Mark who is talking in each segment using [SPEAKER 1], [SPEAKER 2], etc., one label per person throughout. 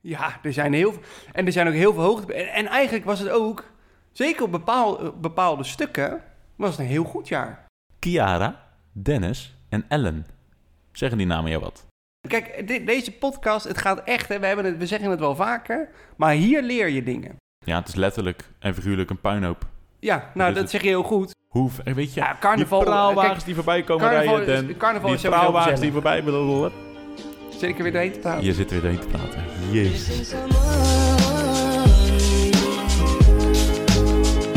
[SPEAKER 1] Ja, er zijn heel veel. En er zijn ook heel veel hoogte. En, en eigenlijk was het ook, zeker op bepaal- bepaalde stukken, was het een heel goed jaar.
[SPEAKER 2] Kiara, Dennis en Ellen. Zeggen die namen jou wat?
[SPEAKER 1] Kijk, de- deze podcast, het gaat echt, hè, we, hebben het, we zeggen het wel vaker, maar hier leer je dingen.
[SPEAKER 2] Ja, het is letterlijk en figuurlijk een puinhoop.
[SPEAKER 1] Ja,
[SPEAKER 2] Dat
[SPEAKER 1] nou,
[SPEAKER 2] is
[SPEAKER 1] dat
[SPEAKER 2] het.
[SPEAKER 1] zeg je heel goed.
[SPEAKER 2] Hoe ver- weet je,
[SPEAKER 1] Ja, carnaval. eh,
[SPEAKER 2] die praalwagens
[SPEAKER 1] kijk,
[SPEAKER 2] die voorbij komen
[SPEAKER 1] carnaval
[SPEAKER 2] rijden,
[SPEAKER 1] is-
[SPEAKER 2] Den.
[SPEAKER 1] carnaval
[SPEAKER 2] die
[SPEAKER 1] is sowieso
[SPEAKER 2] praalwagens die
[SPEAKER 1] gezellig.
[SPEAKER 2] voorbij...
[SPEAKER 1] Zeker weer doorheen te praten.
[SPEAKER 2] Je zit weer doorheen te praten. Jezus.
[SPEAKER 3] This is amor.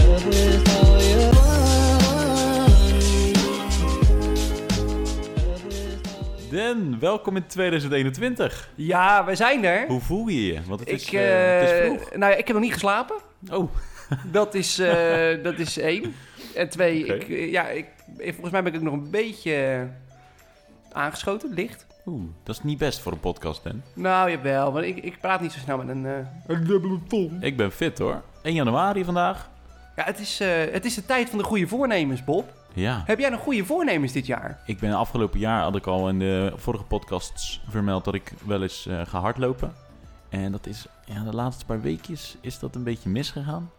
[SPEAKER 3] Love is all you want. Love is all you
[SPEAKER 2] Den, welkom in 2021.
[SPEAKER 1] Ja, we zijn er.
[SPEAKER 2] Hoe voel je je? Want het is,
[SPEAKER 1] ik,
[SPEAKER 2] eh, het is
[SPEAKER 1] eh,
[SPEAKER 2] vroeg.
[SPEAKER 1] nou, ja, ik heb nog niet geslapen.
[SPEAKER 2] Oh,
[SPEAKER 1] Dat is, eh, dat is één. En twee,
[SPEAKER 2] Oké.
[SPEAKER 1] ik, eh, ja, ik, eh, volgens mij ben ik ook nog een beetje eh, aangeschoten, licht.
[SPEAKER 2] Oeh, dat is niet best voor een podcast, Den.
[SPEAKER 1] Nou, jawel, want ik, ik praat niet zo snel met een... eh,
[SPEAKER 2] Ik ben fit hoor. 1 januari vandaag.
[SPEAKER 1] Ja, het is, eh, het is de tijd van de goede voornemens, Bob.
[SPEAKER 2] Ja,
[SPEAKER 1] Heb jij nog goede voornemens dit jaar?
[SPEAKER 2] ik ben afgelopen jaar had ik al in de vorige podcasts vermeld dat ik wel eens eh, ga hardlopen. En dat is, ja, de laatste paar weekjes is dat een beetje misgegaan.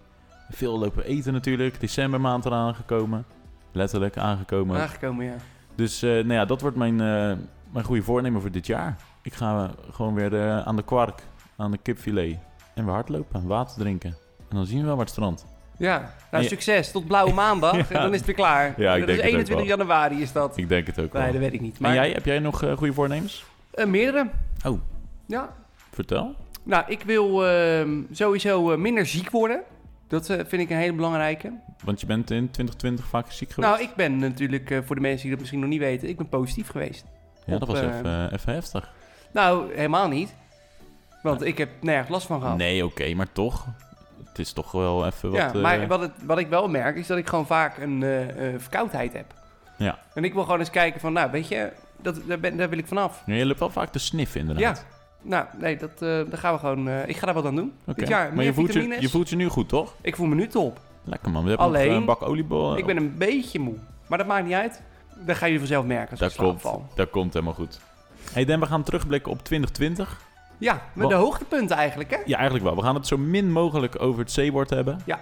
[SPEAKER 2] Veel lopen eten natuurlijk. December maand eraan aangekomen. Letterlijk aangekomen.
[SPEAKER 1] Aangekomen, ja.
[SPEAKER 2] Dus eh, nou ja, dat wordt mijn, eh, mijn goede voornemen voor dit jaar. Ik ga eh, gewoon weer eh, aan de kwark, aan de kipfilet. En we hardlopen, water drinken. En dan zien we wel wat strand.
[SPEAKER 1] Ja, nou,
[SPEAKER 2] Ja.
[SPEAKER 1] succes. Tot blauwe maandag.
[SPEAKER 2] Ja.
[SPEAKER 1] En dan is het weer klaar.
[SPEAKER 2] denk het
[SPEAKER 1] dat
[SPEAKER 2] ook
[SPEAKER 1] is
[SPEAKER 2] wel.
[SPEAKER 1] 21 januari is dat.
[SPEAKER 2] Ik denk het ook wel.
[SPEAKER 1] Nee, dat weet ik niet.
[SPEAKER 2] En
[SPEAKER 1] Maar
[SPEAKER 2] jij, heb jij nog eh, goede voornemens?
[SPEAKER 1] eh, meerdere.
[SPEAKER 2] Oh.
[SPEAKER 1] Ja,
[SPEAKER 2] Vertel.
[SPEAKER 1] Nou, ik wil ehm, sowieso eh, minder ziek worden. Dat eh, vind ik een hele belangrijke.
[SPEAKER 2] Want je bent in 2020 vaak ziek geweest.
[SPEAKER 1] Nou, ik ben natuurlijk, eh, voor de mensen die dat misschien nog niet weten, ik ben positief geweest.
[SPEAKER 2] ja, dat
[SPEAKER 1] op,
[SPEAKER 2] was
[SPEAKER 1] eh,
[SPEAKER 2] even, eh, even heftig.
[SPEAKER 1] Nou, helemaal niet. Want ik heb nergens last van gehad.
[SPEAKER 2] Nee, oké, maar toch. Het is toch wel even wat...
[SPEAKER 1] ja,
[SPEAKER 2] eh,
[SPEAKER 1] maar wat, het, wat ik wel merk is dat ik gewoon vaak een eh, eh, verkoudheid heb.
[SPEAKER 2] Ja.
[SPEAKER 1] En ik wil gewoon eens kijken van, nou, weet je, dat, daar, ben, daar wil ik vanaf.
[SPEAKER 2] Nee, je loopt wel vaak te sniffen inderdaad.
[SPEAKER 1] Ja. Nou, nee, dat, eh, daar gaan we gewoon. eh, ik ga daar wat aan doen.
[SPEAKER 2] Oké.
[SPEAKER 1] Dit jaar
[SPEAKER 2] maar
[SPEAKER 1] meer
[SPEAKER 2] je voelt je,
[SPEAKER 1] vitamines.
[SPEAKER 2] je voelt je nu goed, toch?
[SPEAKER 1] Ik voel me nu top.
[SPEAKER 2] Lekker man. We hebben nog,
[SPEAKER 1] Alleen,
[SPEAKER 2] eh, een bak oliebollen.
[SPEAKER 1] Ik ben een beetje moe. Maar dat maakt niet uit. Dat gaan jullie vanzelf merken als ik
[SPEAKER 2] Dat
[SPEAKER 1] in slaap
[SPEAKER 2] komt,
[SPEAKER 1] val.
[SPEAKER 2] dat komt helemaal goed. hey Den, we gaan terugblikken op 2020.
[SPEAKER 1] Ja, met
[SPEAKER 2] Wat-
[SPEAKER 1] de hoogtepunten eigenlijk, hè?
[SPEAKER 2] Ja, eigenlijk wel. We gaan het zo min mogelijk over het zeebord hebben.
[SPEAKER 1] Ja.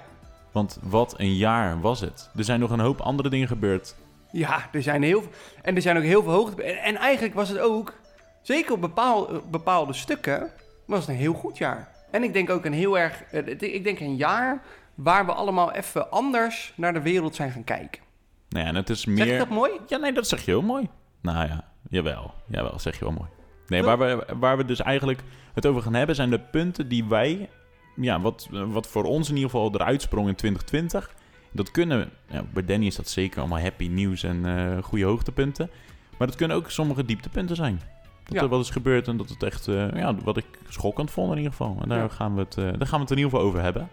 [SPEAKER 2] Want wat een jaar was het. Er zijn nog een hoop andere dingen gebeurd.
[SPEAKER 1] Ja, er zijn heel veel. En er zijn ook heel veel hoogtepunten. En, en eigenlijk was het ook, zeker op bepaal- eh, bepaalde stukken, was het een heel goed jaar. En ik denk ook een heel erg. eh, het- ik denk een jaar waar we allemaal even anders naar de wereld zijn gaan kijken.
[SPEAKER 2] Nou ja, en het is
[SPEAKER 1] Zeg
[SPEAKER 2] meer...
[SPEAKER 1] ik dat mooi?
[SPEAKER 2] Ja, nee, dat zeg je heel mooi. Nou ja, jawel. Jawel, zeg je wel mooi. Nee,
[SPEAKER 1] Toch?
[SPEAKER 2] waar we, waar we dus eigenlijk het over gaan hebben zijn de punten die wij, ja, wat, wat voor ons in ieder geval eruit sprong in 2020. Dat kunnen, ja, bij Danny is dat zeker allemaal happy nieuws en eh, goede hoogtepunten. Maar dat kunnen ook sommige dieptepunten zijn. Dat
[SPEAKER 1] Ja.
[SPEAKER 2] er wat is gebeurd en dat het echt, eh, ja, wat ik schokkend vond in ieder geval. En daar,
[SPEAKER 1] Ja.
[SPEAKER 2] gaan we het, eh, daar gaan we het in ieder geval over hebben.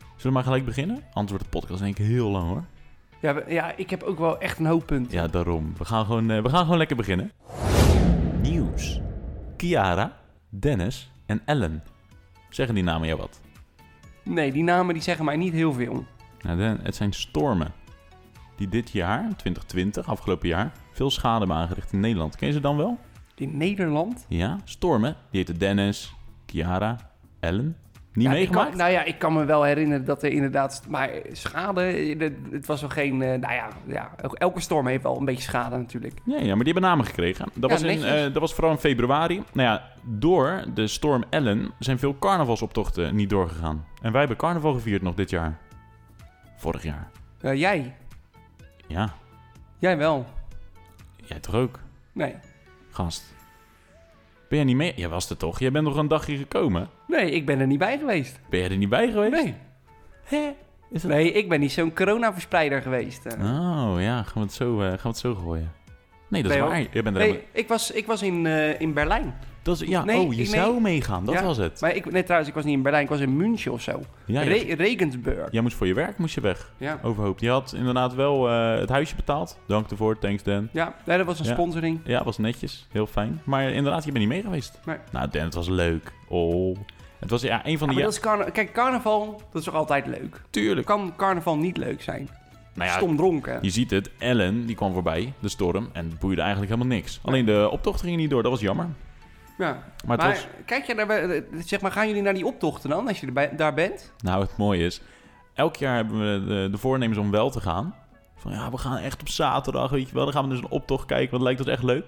[SPEAKER 2] Zullen we maar gelijk beginnen? Anders wordt de podcast denk ik heel lang hoor.
[SPEAKER 1] Ja, we- ja, ik heb ook wel echt een hoogtepunt.
[SPEAKER 2] Ja, daarom. We gaan gewoon, eh, we gaan gewoon lekker beginnen. Nieuws. Kiara, Dennis en Ellen. Zeggen die namen jou wat?
[SPEAKER 1] Nee, die namen die zeggen mij niet heel veel.
[SPEAKER 2] Nou, Den- het zijn stormen die dit jaar, 2020, afgelopen jaar, veel schade hebben aangericht in Nederland. Ken je ze dan wel?
[SPEAKER 1] In Nederland.
[SPEAKER 2] Ja, stormen. Die heten Dennis, Kiara, Ellen. Niet
[SPEAKER 1] Ja, ik
[SPEAKER 2] meegemaakt?
[SPEAKER 1] kan- nou ja, ik kan me wel herinneren dat er inderdaad... Maar schade, eh, dat- het was wel geen... eh, Nou ja, ja, elke storm heeft wel een beetje schade natuurlijk.
[SPEAKER 2] Ja, ja, maar die hebben namen gekregen. Dat,
[SPEAKER 1] Ja,
[SPEAKER 2] was in,
[SPEAKER 1] netjes.
[SPEAKER 2] eh, dat was vooral in februari. Nou ja, door de storm Ellen zijn veel carnavalsoptochten niet doorgegaan. En wij hebben carnaval gevierd nog dit jaar. Vorig jaar.
[SPEAKER 1] Eh, jij?
[SPEAKER 2] Ja,
[SPEAKER 1] Jij wel.
[SPEAKER 2] jij toch ook,
[SPEAKER 1] Nee.
[SPEAKER 2] gast? Ben jij niet mee? Jij was er toch? Jij bent nog een dagje gekomen.
[SPEAKER 1] Nee, ik ben er niet bij geweest.
[SPEAKER 2] Ben jij er niet bij geweest?
[SPEAKER 1] Nee.
[SPEAKER 2] Hè? Is dat...
[SPEAKER 1] Nee, ik ben niet zo'n coronaverspreider geweest. eh.
[SPEAKER 2] Oh ja, gaan we het zo, eh, gaan we het zo gooien. Nee, dat is
[SPEAKER 1] Nee, hoor.
[SPEAKER 2] waar. Jij bent er helemaal...
[SPEAKER 1] Nee, ik was, ik was in, eh, in Berlijn.
[SPEAKER 2] dat is, ja,
[SPEAKER 1] Nee,
[SPEAKER 2] oh, je
[SPEAKER 1] ik- nee.
[SPEAKER 2] zou meegaan. Dat
[SPEAKER 1] Ja,
[SPEAKER 2] was het.
[SPEAKER 1] Maar ik, nee, trouwens, ik was niet in Berlijn, ik was in München of zo.
[SPEAKER 2] Ja, Oh. jij-
[SPEAKER 1] Re- Regensburg.
[SPEAKER 2] jij moest voor je werk moest je weg.
[SPEAKER 1] Ja.
[SPEAKER 2] Overhoop. Je had inderdaad wel eh, het huisje betaald. Dank ervoor, thanks Dan.
[SPEAKER 1] Ja, nee, dat was een
[SPEAKER 2] Ja.
[SPEAKER 1] sponsoring.
[SPEAKER 2] Ja, was netjes. Heel fijn. Maar inderdaad, je bent niet mee geweest.
[SPEAKER 1] Nee.
[SPEAKER 2] Nou, Dan, het was leuk. Oh. Het was ja, een
[SPEAKER 1] Ja,
[SPEAKER 2] van de...
[SPEAKER 1] maar
[SPEAKER 2] ja-
[SPEAKER 1] dat is carna- Kijk, carnaval, dat is toch altijd leuk?
[SPEAKER 2] Tuurlijk.
[SPEAKER 1] Kan carnaval niet leuk zijn?
[SPEAKER 2] Nou ja,
[SPEAKER 1] Stom dronken.
[SPEAKER 2] je ziet het. Ellen, die kwam voorbij, de storm. En het boeide eigenlijk helemaal niks. Alleen de optocht ging niet door. Dat was jammer.
[SPEAKER 1] Ja.
[SPEAKER 2] Maar,
[SPEAKER 1] Maar
[SPEAKER 2] het was,
[SPEAKER 1] kijk jij daar, wel- eh, zeg maar, gaan jullie naar die optochten dan, als je erbij, daar bent?
[SPEAKER 2] nou, het mooie is, elk jaar hebben we de, de voornemens om wel te gaan. Van ja, we gaan echt op zaterdag, weet je wel. Dan gaan we dus een optocht kijken, want het lijkt ons echt leuk.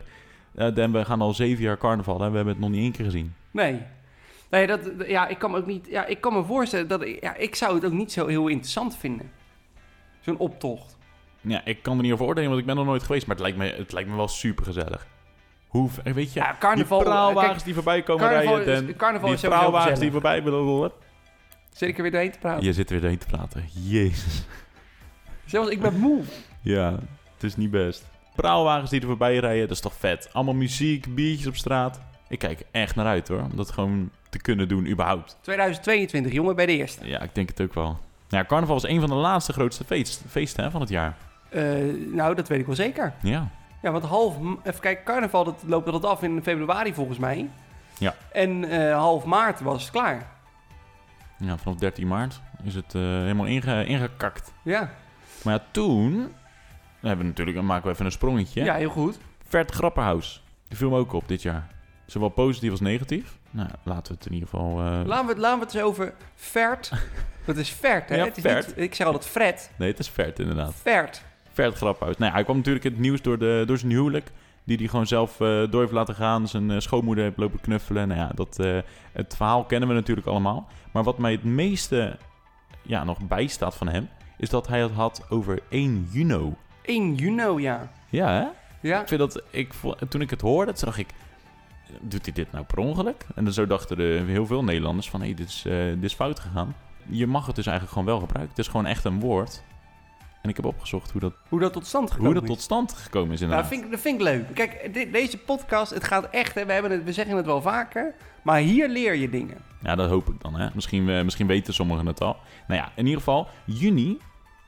[SPEAKER 2] Eh dan we gaan al zeven jaar carnaval en we hebben het nog niet één keer gezien.
[SPEAKER 1] Nee. Nee, dat, ja, ik kan me ook niet, ja, ik kan me voorstellen dat, ik- ja, ik zou het ook niet zo heel interessant vinden. Zo'n optocht.
[SPEAKER 2] Ja, ik kan er niet over oordelen, want ik ben nog nooit geweest. Maar het lijkt me, het lijkt me wel super gezellig. Hoe, eh, weet je,
[SPEAKER 1] Ja, carnaval-
[SPEAKER 2] die praalwagens
[SPEAKER 1] kijk,
[SPEAKER 2] die voorbij komen
[SPEAKER 1] Carnaval
[SPEAKER 2] rijden.
[SPEAKER 1] is,
[SPEAKER 2] en
[SPEAKER 1] carnaval
[SPEAKER 2] die
[SPEAKER 1] is sowieso
[SPEAKER 2] praalwagens die
[SPEAKER 1] gezellig.
[SPEAKER 2] voorbij willen
[SPEAKER 1] Zit ik er weer doorheen te praten?
[SPEAKER 2] Je zit weer doorheen te praten. Jezus.
[SPEAKER 1] Zelfs ik ben moe.
[SPEAKER 2] Ja, het is niet best. Praalwagens die er voorbij rijden, dat is toch vet. Allemaal muziek, biertjes op straat. Ik kijk er echt naar uit hoor, om dat gewoon te kunnen doen überhaupt.
[SPEAKER 1] 2022, jongen, bij de eerste.
[SPEAKER 2] Ja, ik denk het ook wel. Ja, carnaval is een van de laatste grootste feest, feesten hè, van het jaar.
[SPEAKER 1] Eh, nou, dat weet ik wel zeker.
[SPEAKER 2] Ja.
[SPEAKER 1] Ja, want half... m- Even kijken, carnaval dat loopt dat af in februari volgens mij.
[SPEAKER 2] Ja.
[SPEAKER 1] En eh, half maart was het klaar.
[SPEAKER 2] ja, vanaf 13 maart is het eh, helemaal inge- ingekakt.
[SPEAKER 1] Ja,
[SPEAKER 2] Maar ja, toen we hebben we natuurlijk, dan maken we even een sprongetje.
[SPEAKER 1] ja heel goed.
[SPEAKER 2] Vert Grapperhaus, die viel me ook op dit jaar. Zowel positief als negatief. Nou, laten we het in ieder geval... eh,
[SPEAKER 1] Laten we, het- laten we het eens over Vert. Dat is Vert, hè?
[SPEAKER 2] Ja,
[SPEAKER 1] het is
[SPEAKER 2] Vert.
[SPEAKER 1] Niet, ik zeg altijd Fred.
[SPEAKER 2] Nee, het is Vert inderdaad.
[SPEAKER 1] Vert.
[SPEAKER 2] Vert Grapperhaus. Nou ja, hij kwam natuurlijk in het nieuws door, de, door zijn huwelijk. Die hij gewoon zelf eh, door heeft laten gaan. Zijn eh, schoonmoeder heeft lopen knuffelen. Nou ja, dat, eh, het verhaal kennen we natuurlijk allemaal. Maar wat mij het meeste ja, nog bijstaat van hem... is dat hij het had over 1 Juno.
[SPEAKER 1] 1 Juno, ja.
[SPEAKER 2] Ja, hè?
[SPEAKER 1] Ja,
[SPEAKER 2] Ik vind dat... Ik, vo- toen ik het hoorde, toen dacht ik... Doet hij dit nou per ongeluk? En dan zo dachten de, heel veel Nederlanders van... Hé, dit, is, eh, dit is fout gegaan. Je mag het dus eigenlijk gewoon wel gebruiken. Het is gewoon echt een woord. En ik heb opgezocht hoe dat,
[SPEAKER 1] hoe dat tot stand gekomen
[SPEAKER 2] hoe dat
[SPEAKER 1] is.
[SPEAKER 2] tot stand gekomen is
[SPEAKER 1] Nou,
[SPEAKER 2] inderdaad.
[SPEAKER 1] dat vind, ik- dat vind ik leuk. Kijk, de- deze podcast, het gaat echt, hè, we, hebben het, we zeggen het wel vaker, maar hier leer je dingen.
[SPEAKER 2] Ja, dat hoop ik dan. Hè? Misschien, eh, misschien weten sommigen het al. Nou ja, in ieder geval, juni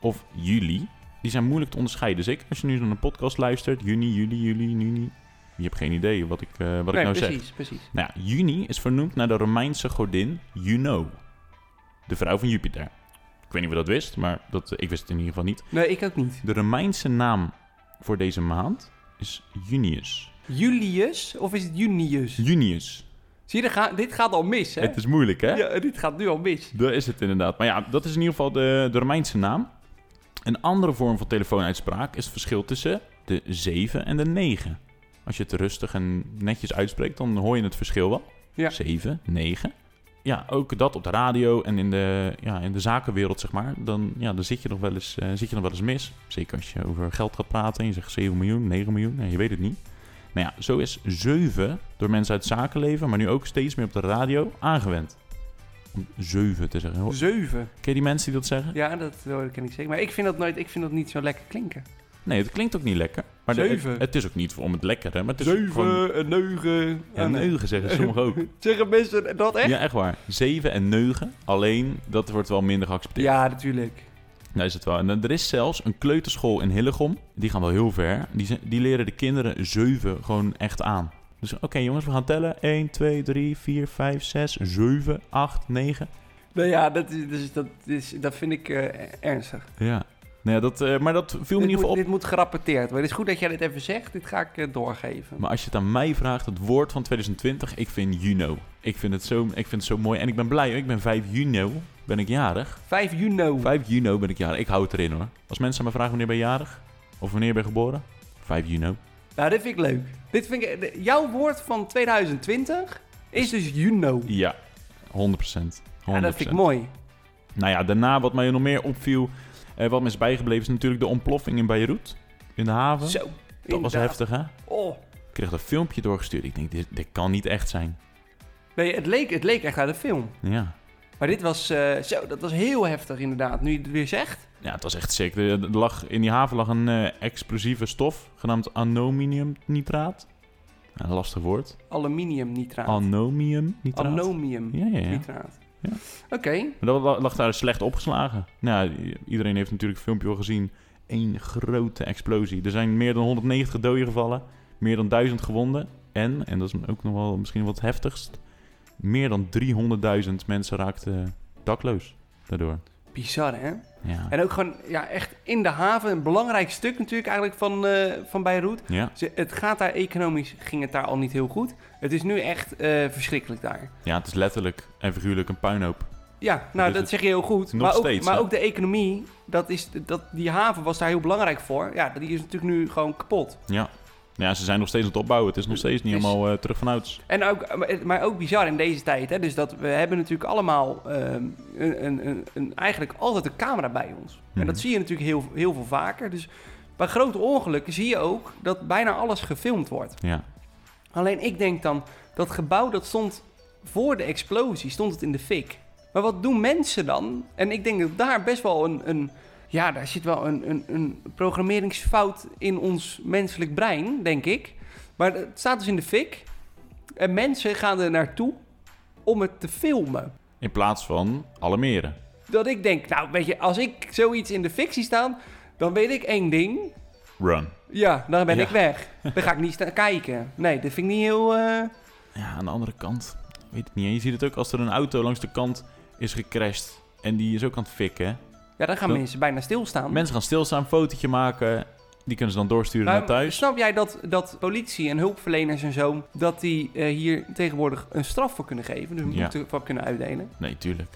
[SPEAKER 2] of juli, die zijn moeilijk te onderscheiden. Zeker als je nu naar een podcast luistert. Juni, juli, juli, juni. Je hebt geen idee wat ik, eh, wat ik nou zeg.
[SPEAKER 1] precies, precies.
[SPEAKER 2] Nou ja, juni is vernoemd naar de Romeinse godin Juno. De vrouw van Jupiter. Ik weet niet of je dat wist, maar dat, eh, ik wist het in ieder geval niet.
[SPEAKER 1] Nee, ik ook niet.
[SPEAKER 2] De Romeinse naam voor deze maand is Junius.
[SPEAKER 1] Julius of is het Junius?
[SPEAKER 2] Junius.
[SPEAKER 1] Zie je, dit gaat, dit gaat al mis, hè?
[SPEAKER 2] Het is moeilijk, hè?
[SPEAKER 1] Ja, dit gaat nu al mis.
[SPEAKER 2] Daar is het inderdaad. Maar ja, dat is in ieder geval de, de Romeinse naam. Een andere vorm van telefoonuitspraak is het verschil tussen de 7 en de 9. Als je het rustig en netjes uitspreekt, dan hoor je het verschil wel.
[SPEAKER 1] Ja.
[SPEAKER 2] 7, 9. Ja, ook dat op de radio en in de, ja, in de zakenwereld, zeg maar. Dan, ja, dan zit, je nog wel eens, eh, zit je nog wel eens mis. Zeker als je over geld gaat praten en je zegt 7 miljoen, 9 miljoen. Nou, je weet het niet. Nou ja, zo is 7 door mensen uit zakenleven, maar nu ook steeds meer op de radio, aangewend. Om 7 te zeggen. Hoor-
[SPEAKER 1] Zeven.
[SPEAKER 2] Ken je die mensen die dat zeggen?
[SPEAKER 1] Ja, dat, oh, dat ken ik zeker. Maar ik vind dat nooit, ik vind dat niet zo lekker klinken.
[SPEAKER 2] Nee, het klinkt ook niet lekker. Maar de-
[SPEAKER 1] Zeven.
[SPEAKER 2] het, het is ook niet om het lekker, hè? Maar het is
[SPEAKER 1] Zeven,
[SPEAKER 2] gewoon...
[SPEAKER 1] een neugen.
[SPEAKER 2] Ja, neugen zeggen sommigen ook.
[SPEAKER 1] Zeggen mensen dat echt?
[SPEAKER 2] Ja, echt waar. Zeven en neugen. Alleen, dat wordt wel minder geaccepteerd.
[SPEAKER 1] Ja, natuurlijk.
[SPEAKER 2] Nou is het wel. En dan- er is zelfs een kleuterschool in Hillegom. Die gaan wel heel ver. Die, zijn- die leren de kinderen zeven gewoon echt aan. Dus oké jongens, we gaan tellen. 1, 2, 3, 4, 5, 6, 7, 8, 9.
[SPEAKER 1] Nou ja, dat, is, dus, dat, is, dat vind ik eh, ernstig.
[SPEAKER 2] Ja. Nou ja, dat, eh, maar dat viel me
[SPEAKER 1] dit,
[SPEAKER 2] in ieder
[SPEAKER 1] moet,
[SPEAKER 2] geval op.
[SPEAKER 1] dit moet gerapporteerd worden. Het is goed dat jij dit even zegt. Dit ga ik eh, doorgeven.
[SPEAKER 2] Maar als je het aan mij vraagt, het woord van 2020, ik vind Juno. Ik vind het zo, ik vind het zo mooi. En ik ben blij, hoor. ik ben 5 Juno. Ben ik jarig?
[SPEAKER 1] 5 Juno.
[SPEAKER 2] 5 Juno ben ik jarig. Ik hou het erin hoor. Als mensen aan me vragen wanneer ben je jarig? Of wanneer ben je geboren? 5 Juno.
[SPEAKER 1] Nou, dit vind ik leuk. Dit vind ik, de- jouw woord van 2020 is dus Juno.
[SPEAKER 2] Ja, 100%. 100%.
[SPEAKER 1] Ja, dat vind ik mooi.
[SPEAKER 2] Nou ja, daarna wat mij nog meer opviel, eh, wat me is bijgebleven, is natuurlijk de ontploffing in Beirut. In de haven.
[SPEAKER 1] Zo.
[SPEAKER 2] dat was
[SPEAKER 1] inderdaad.
[SPEAKER 2] heftig, hè?
[SPEAKER 1] Oh.
[SPEAKER 2] Ik kreeg een filmpje doorgestuurd. Ik denk, dit, dit kan niet echt zijn.
[SPEAKER 1] Nee, het leek, het leek echt uit een film.
[SPEAKER 2] Ja.
[SPEAKER 1] Maar dit was, eh, zo, dat was heel heftig inderdaad. Nu je het weer zegt.
[SPEAKER 2] Ja, het was echt sick. Er- er lag, in die haven lag een eh, explosieve stof, genaamd anominiumnitraat. Een lastig woord.
[SPEAKER 1] Aluminiumnitraat.
[SPEAKER 2] Anomiumnitraat.
[SPEAKER 1] Anomiumnitraat.
[SPEAKER 2] ja, ja, ja. Ja.
[SPEAKER 1] Oké.
[SPEAKER 2] Maar dat lag daar slecht opgeslagen. Nou, i- iedereen heeft natuurlijk het filmpje al gezien. Eén grote explosie. Er zijn meer dan 190 doden gevallen. Meer dan 1000 gewonden. En, en dat is ook nog wel misschien wat heftigst... meer dan 300.000 mensen raakten dakloos daardoor.
[SPEAKER 1] Bizar, hè?
[SPEAKER 2] Ja.
[SPEAKER 1] En ook gewoon ja, echt in de haven, een belangrijk stuk natuurlijk eigenlijk van, eh, van Beirut.
[SPEAKER 2] Ja.
[SPEAKER 1] Ze- Het gaat daar economisch, ging het daar al niet heel goed. Het is nu echt eh, verschrikkelijk daar.
[SPEAKER 2] ja, het is letterlijk en figuurlijk een puinhoop.
[SPEAKER 1] Ja, nou
[SPEAKER 2] Dus
[SPEAKER 1] dat
[SPEAKER 2] het-
[SPEAKER 1] zeg je heel goed.
[SPEAKER 2] nog
[SPEAKER 1] maar, ook,
[SPEAKER 2] steeds,
[SPEAKER 1] maar
[SPEAKER 2] hè?
[SPEAKER 1] ook de economie, dat is, dat, die haven was daar heel belangrijk voor. Ja, die is natuurlijk nu gewoon kapot.
[SPEAKER 2] Ja. Nou ja, ze zijn nog steeds aan het opbouwen. Het is nog steeds niet
[SPEAKER 1] Dus-
[SPEAKER 2] helemaal eh, terug van ouds.
[SPEAKER 1] En ook, maar- maar ook bizar in deze tijd. Hè? Dus dat we hebben natuurlijk allemaal ehm, een, een, een, een- eigenlijk altijd een camera bij ons. En
[SPEAKER 2] Mhm.
[SPEAKER 1] dat zie je natuurlijk heel, heel veel vaker. Dus bij grote ongelukken zie je ook dat bijna alles gefilmd wordt.
[SPEAKER 2] Ja.
[SPEAKER 1] Alleen ik denk dan, dat gebouw dat stond voor de explosie, stond het in de fik. Maar wat doen mensen dan? En ik denk dat daar best wel een, een ja, daar zit wel een, een, een programmeringsfout in ons menselijk brein, denk ik. Maar het staat dus in de fik. En mensen gaan er naartoe om het te filmen.
[SPEAKER 2] In plaats van alarmeren.
[SPEAKER 1] Dat ik denk, nou weet je, als ik zoiets in de fik zie staan, dan weet ik één ding.
[SPEAKER 2] Run.
[SPEAKER 1] Ja, dan ben
[SPEAKER 2] Ja.
[SPEAKER 1] ik weg. Dan ga ik niet staan kijken. Nee, dat vind ik niet heel... eh,
[SPEAKER 2] Ja, aan de andere kant. ik Weet het niet. hè. Je ziet het ook als er een auto langs de kant is gecrashed. En die is ook aan het fikken. hè.
[SPEAKER 1] Ja, dan gaan
[SPEAKER 2] Dat-
[SPEAKER 1] mensen bijna stilstaan.
[SPEAKER 2] Mensen gaan stilstaan, een fotootje maken. Die kunnen ze dan doorsturen
[SPEAKER 1] Maar
[SPEAKER 2] naar thuis.
[SPEAKER 1] Snap jij dat, dat politie en hulpverleners en zo, dat die eh, hier tegenwoordig een straf voor kunnen geven? Dus een
[SPEAKER 2] Ja.
[SPEAKER 1] boete voor kunnen uitdelen.
[SPEAKER 2] Nee, tuurlijk.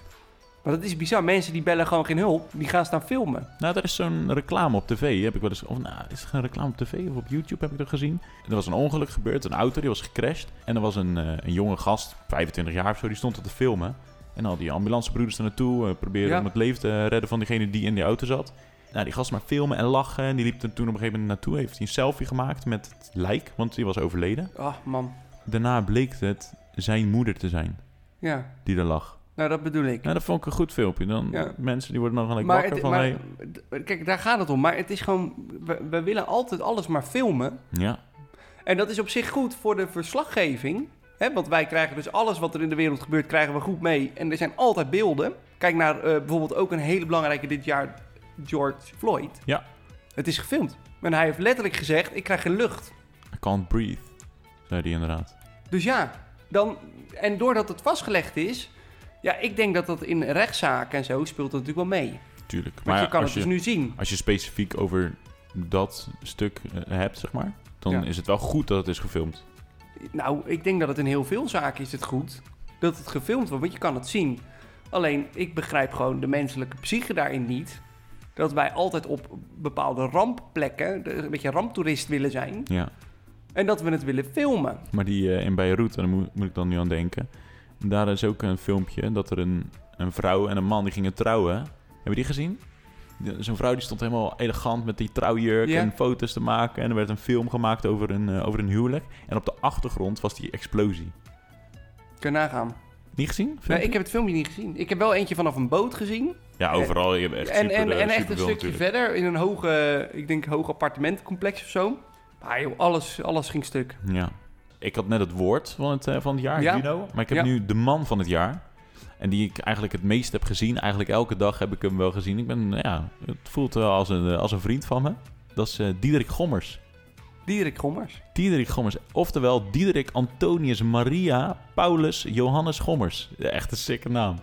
[SPEAKER 1] Maar dat is bizar. Mensen die bellen gewoon geen hulp, die gaan staan filmen.
[SPEAKER 2] Nou, er is zo'n reclame op tv. Heb ik wel eens. Of nou, is er een reclame op tv of op YouTube heb ik dat gezien. Er was een ongeluk gebeurd. Een auto die was gecrashed. En er was een, eh, een jonge gast, 25 jaar of zo, die stond dat te filmen. En al die ambulancebroeders er naartoe eh, proberen
[SPEAKER 1] Ja.
[SPEAKER 2] om het leven te redden van degene die in die auto zat. Nou, die gast maar filmen en lachen. En die liep er toen op een gegeven moment naartoe. Heeft hij een selfie gemaakt met het lijk, want die was overleden.
[SPEAKER 1] Ach man,
[SPEAKER 2] Daarna bleek het zijn moeder te zijn
[SPEAKER 1] ja.
[SPEAKER 2] die er lag.
[SPEAKER 1] Nou, dat bedoel ik.
[SPEAKER 2] Nou, dat vond ik een goed filmpje. Dan
[SPEAKER 1] Ja.
[SPEAKER 2] mensen die worden dan gelijk
[SPEAKER 1] maar
[SPEAKER 2] wakker
[SPEAKER 1] het-
[SPEAKER 2] van...
[SPEAKER 1] maar-
[SPEAKER 2] hey,
[SPEAKER 1] d- kijk, daar gaat het om. Maar het is gewoon, we, we willen altijd alles maar filmen.
[SPEAKER 2] ja,
[SPEAKER 1] En dat is op zich goed voor de verslaggeving. Hè? Want wij krijgen dus alles wat er in de wereld gebeurt, krijgen we goed mee. En er zijn altijd beelden. Kijk naar eh, bijvoorbeeld ook een hele belangrijke dit jaar, George Floyd.
[SPEAKER 2] Ja.
[SPEAKER 1] Het is gefilmd. En hij heeft letterlijk gezegd, ik krijg geen lucht.
[SPEAKER 2] I can't breathe, zei die inderdaad.
[SPEAKER 1] Dus ja, dan, en doordat het vastgelegd is... Ja, ik denk dat dat in rechtszaken en zo speelt dat natuurlijk wel mee. Want
[SPEAKER 2] Tuurlijk. Maar,
[SPEAKER 1] je kan het
[SPEAKER 2] als, je,
[SPEAKER 1] dus nu zien.
[SPEAKER 2] als je specifiek over dat stuk eh, hebt, zeg maar, dan
[SPEAKER 1] Ja.
[SPEAKER 2] is het wel goed dat het is gefilmd.
[SPEAKER 1] Nou, ik denk dat het in heel veel zaken is het goed dat het gefilmd wordt, want je kan het zien. Alleen, ik begrijp gewoon de menselijke psyche daarin niet. Dat wij altijd op bepaalde rampplekken, de- een beetje ramptoerist willen zijn.
[SPEAKER 2] Ja.
[SPEAKER 1] En dat we het willen filmen.
[SPEAKER 2] Maar die eh, in Beirut, daar moet, moet ik dan nu aan denken. Daar is ook een filmpje dat er een, een vrouw en een man die gingen trouwen. Hebben we die gezien? De- Zo'n vrouw die stond helemaal elegant met die trouwjurk
[SPEAKER 1] Ja.
[SPEAKER 2] en foto's te maken. En er werd een film gemaakt over een, eh, over een huwelijk. En op de achtergrond was die explosie.
[SPEAKER 1] Kun je nagaan.
[SPEAKER 2] Niet gezien?
[SPEAKER 1] Nee,
[SPEAKER 2] filmpje?
[SPEAKER 1] ik heb het filmpje niet gezien. Ik heb wel eentje vanaf een boot gezien.
[SPEAKER 2] Ja, overal. Je hebt echt
[SPEAKER 1] en
[SPEAKER 2] super,
[SPEAKER 1] en,
[SPEAKER 2] eh,
[SPEAKER 1] en echt een
[SPEAKER 2] superveel
[SPEAKER 1] stukje
[SPEAKER 2] natuurlijk.
[SPEAKER 1] verder in een hoge, ik denk, hoog appartementencomplex of zo. Maar joh, alles, alles ging stuk.
[SPEAKER 2] Ja. Ik had net het woord van het, eh, van het jaar,
[SPEAKER 1] Ja.
[SPEAKER 2] Juno. Maar ik heb
[SPEAKER 1] Ja.
[SPEAKER 2] nu de man van het jaar. En die ik eigenlijk het meest heb gezien. Eigenlijk elke dag heb ik hem wel gezien. Ik ben, ja, het voelt wel als een, eh, als een vriend van me. Dat is eh, Diederik Gommers.
[SPEAKER 1] Dierik Gommers.
[SPEAKER 2] Diederik Gommers. Oftewel Diederik Antonius Maria Paulus Johannes Gommers. Ja, Echt een sikke naam.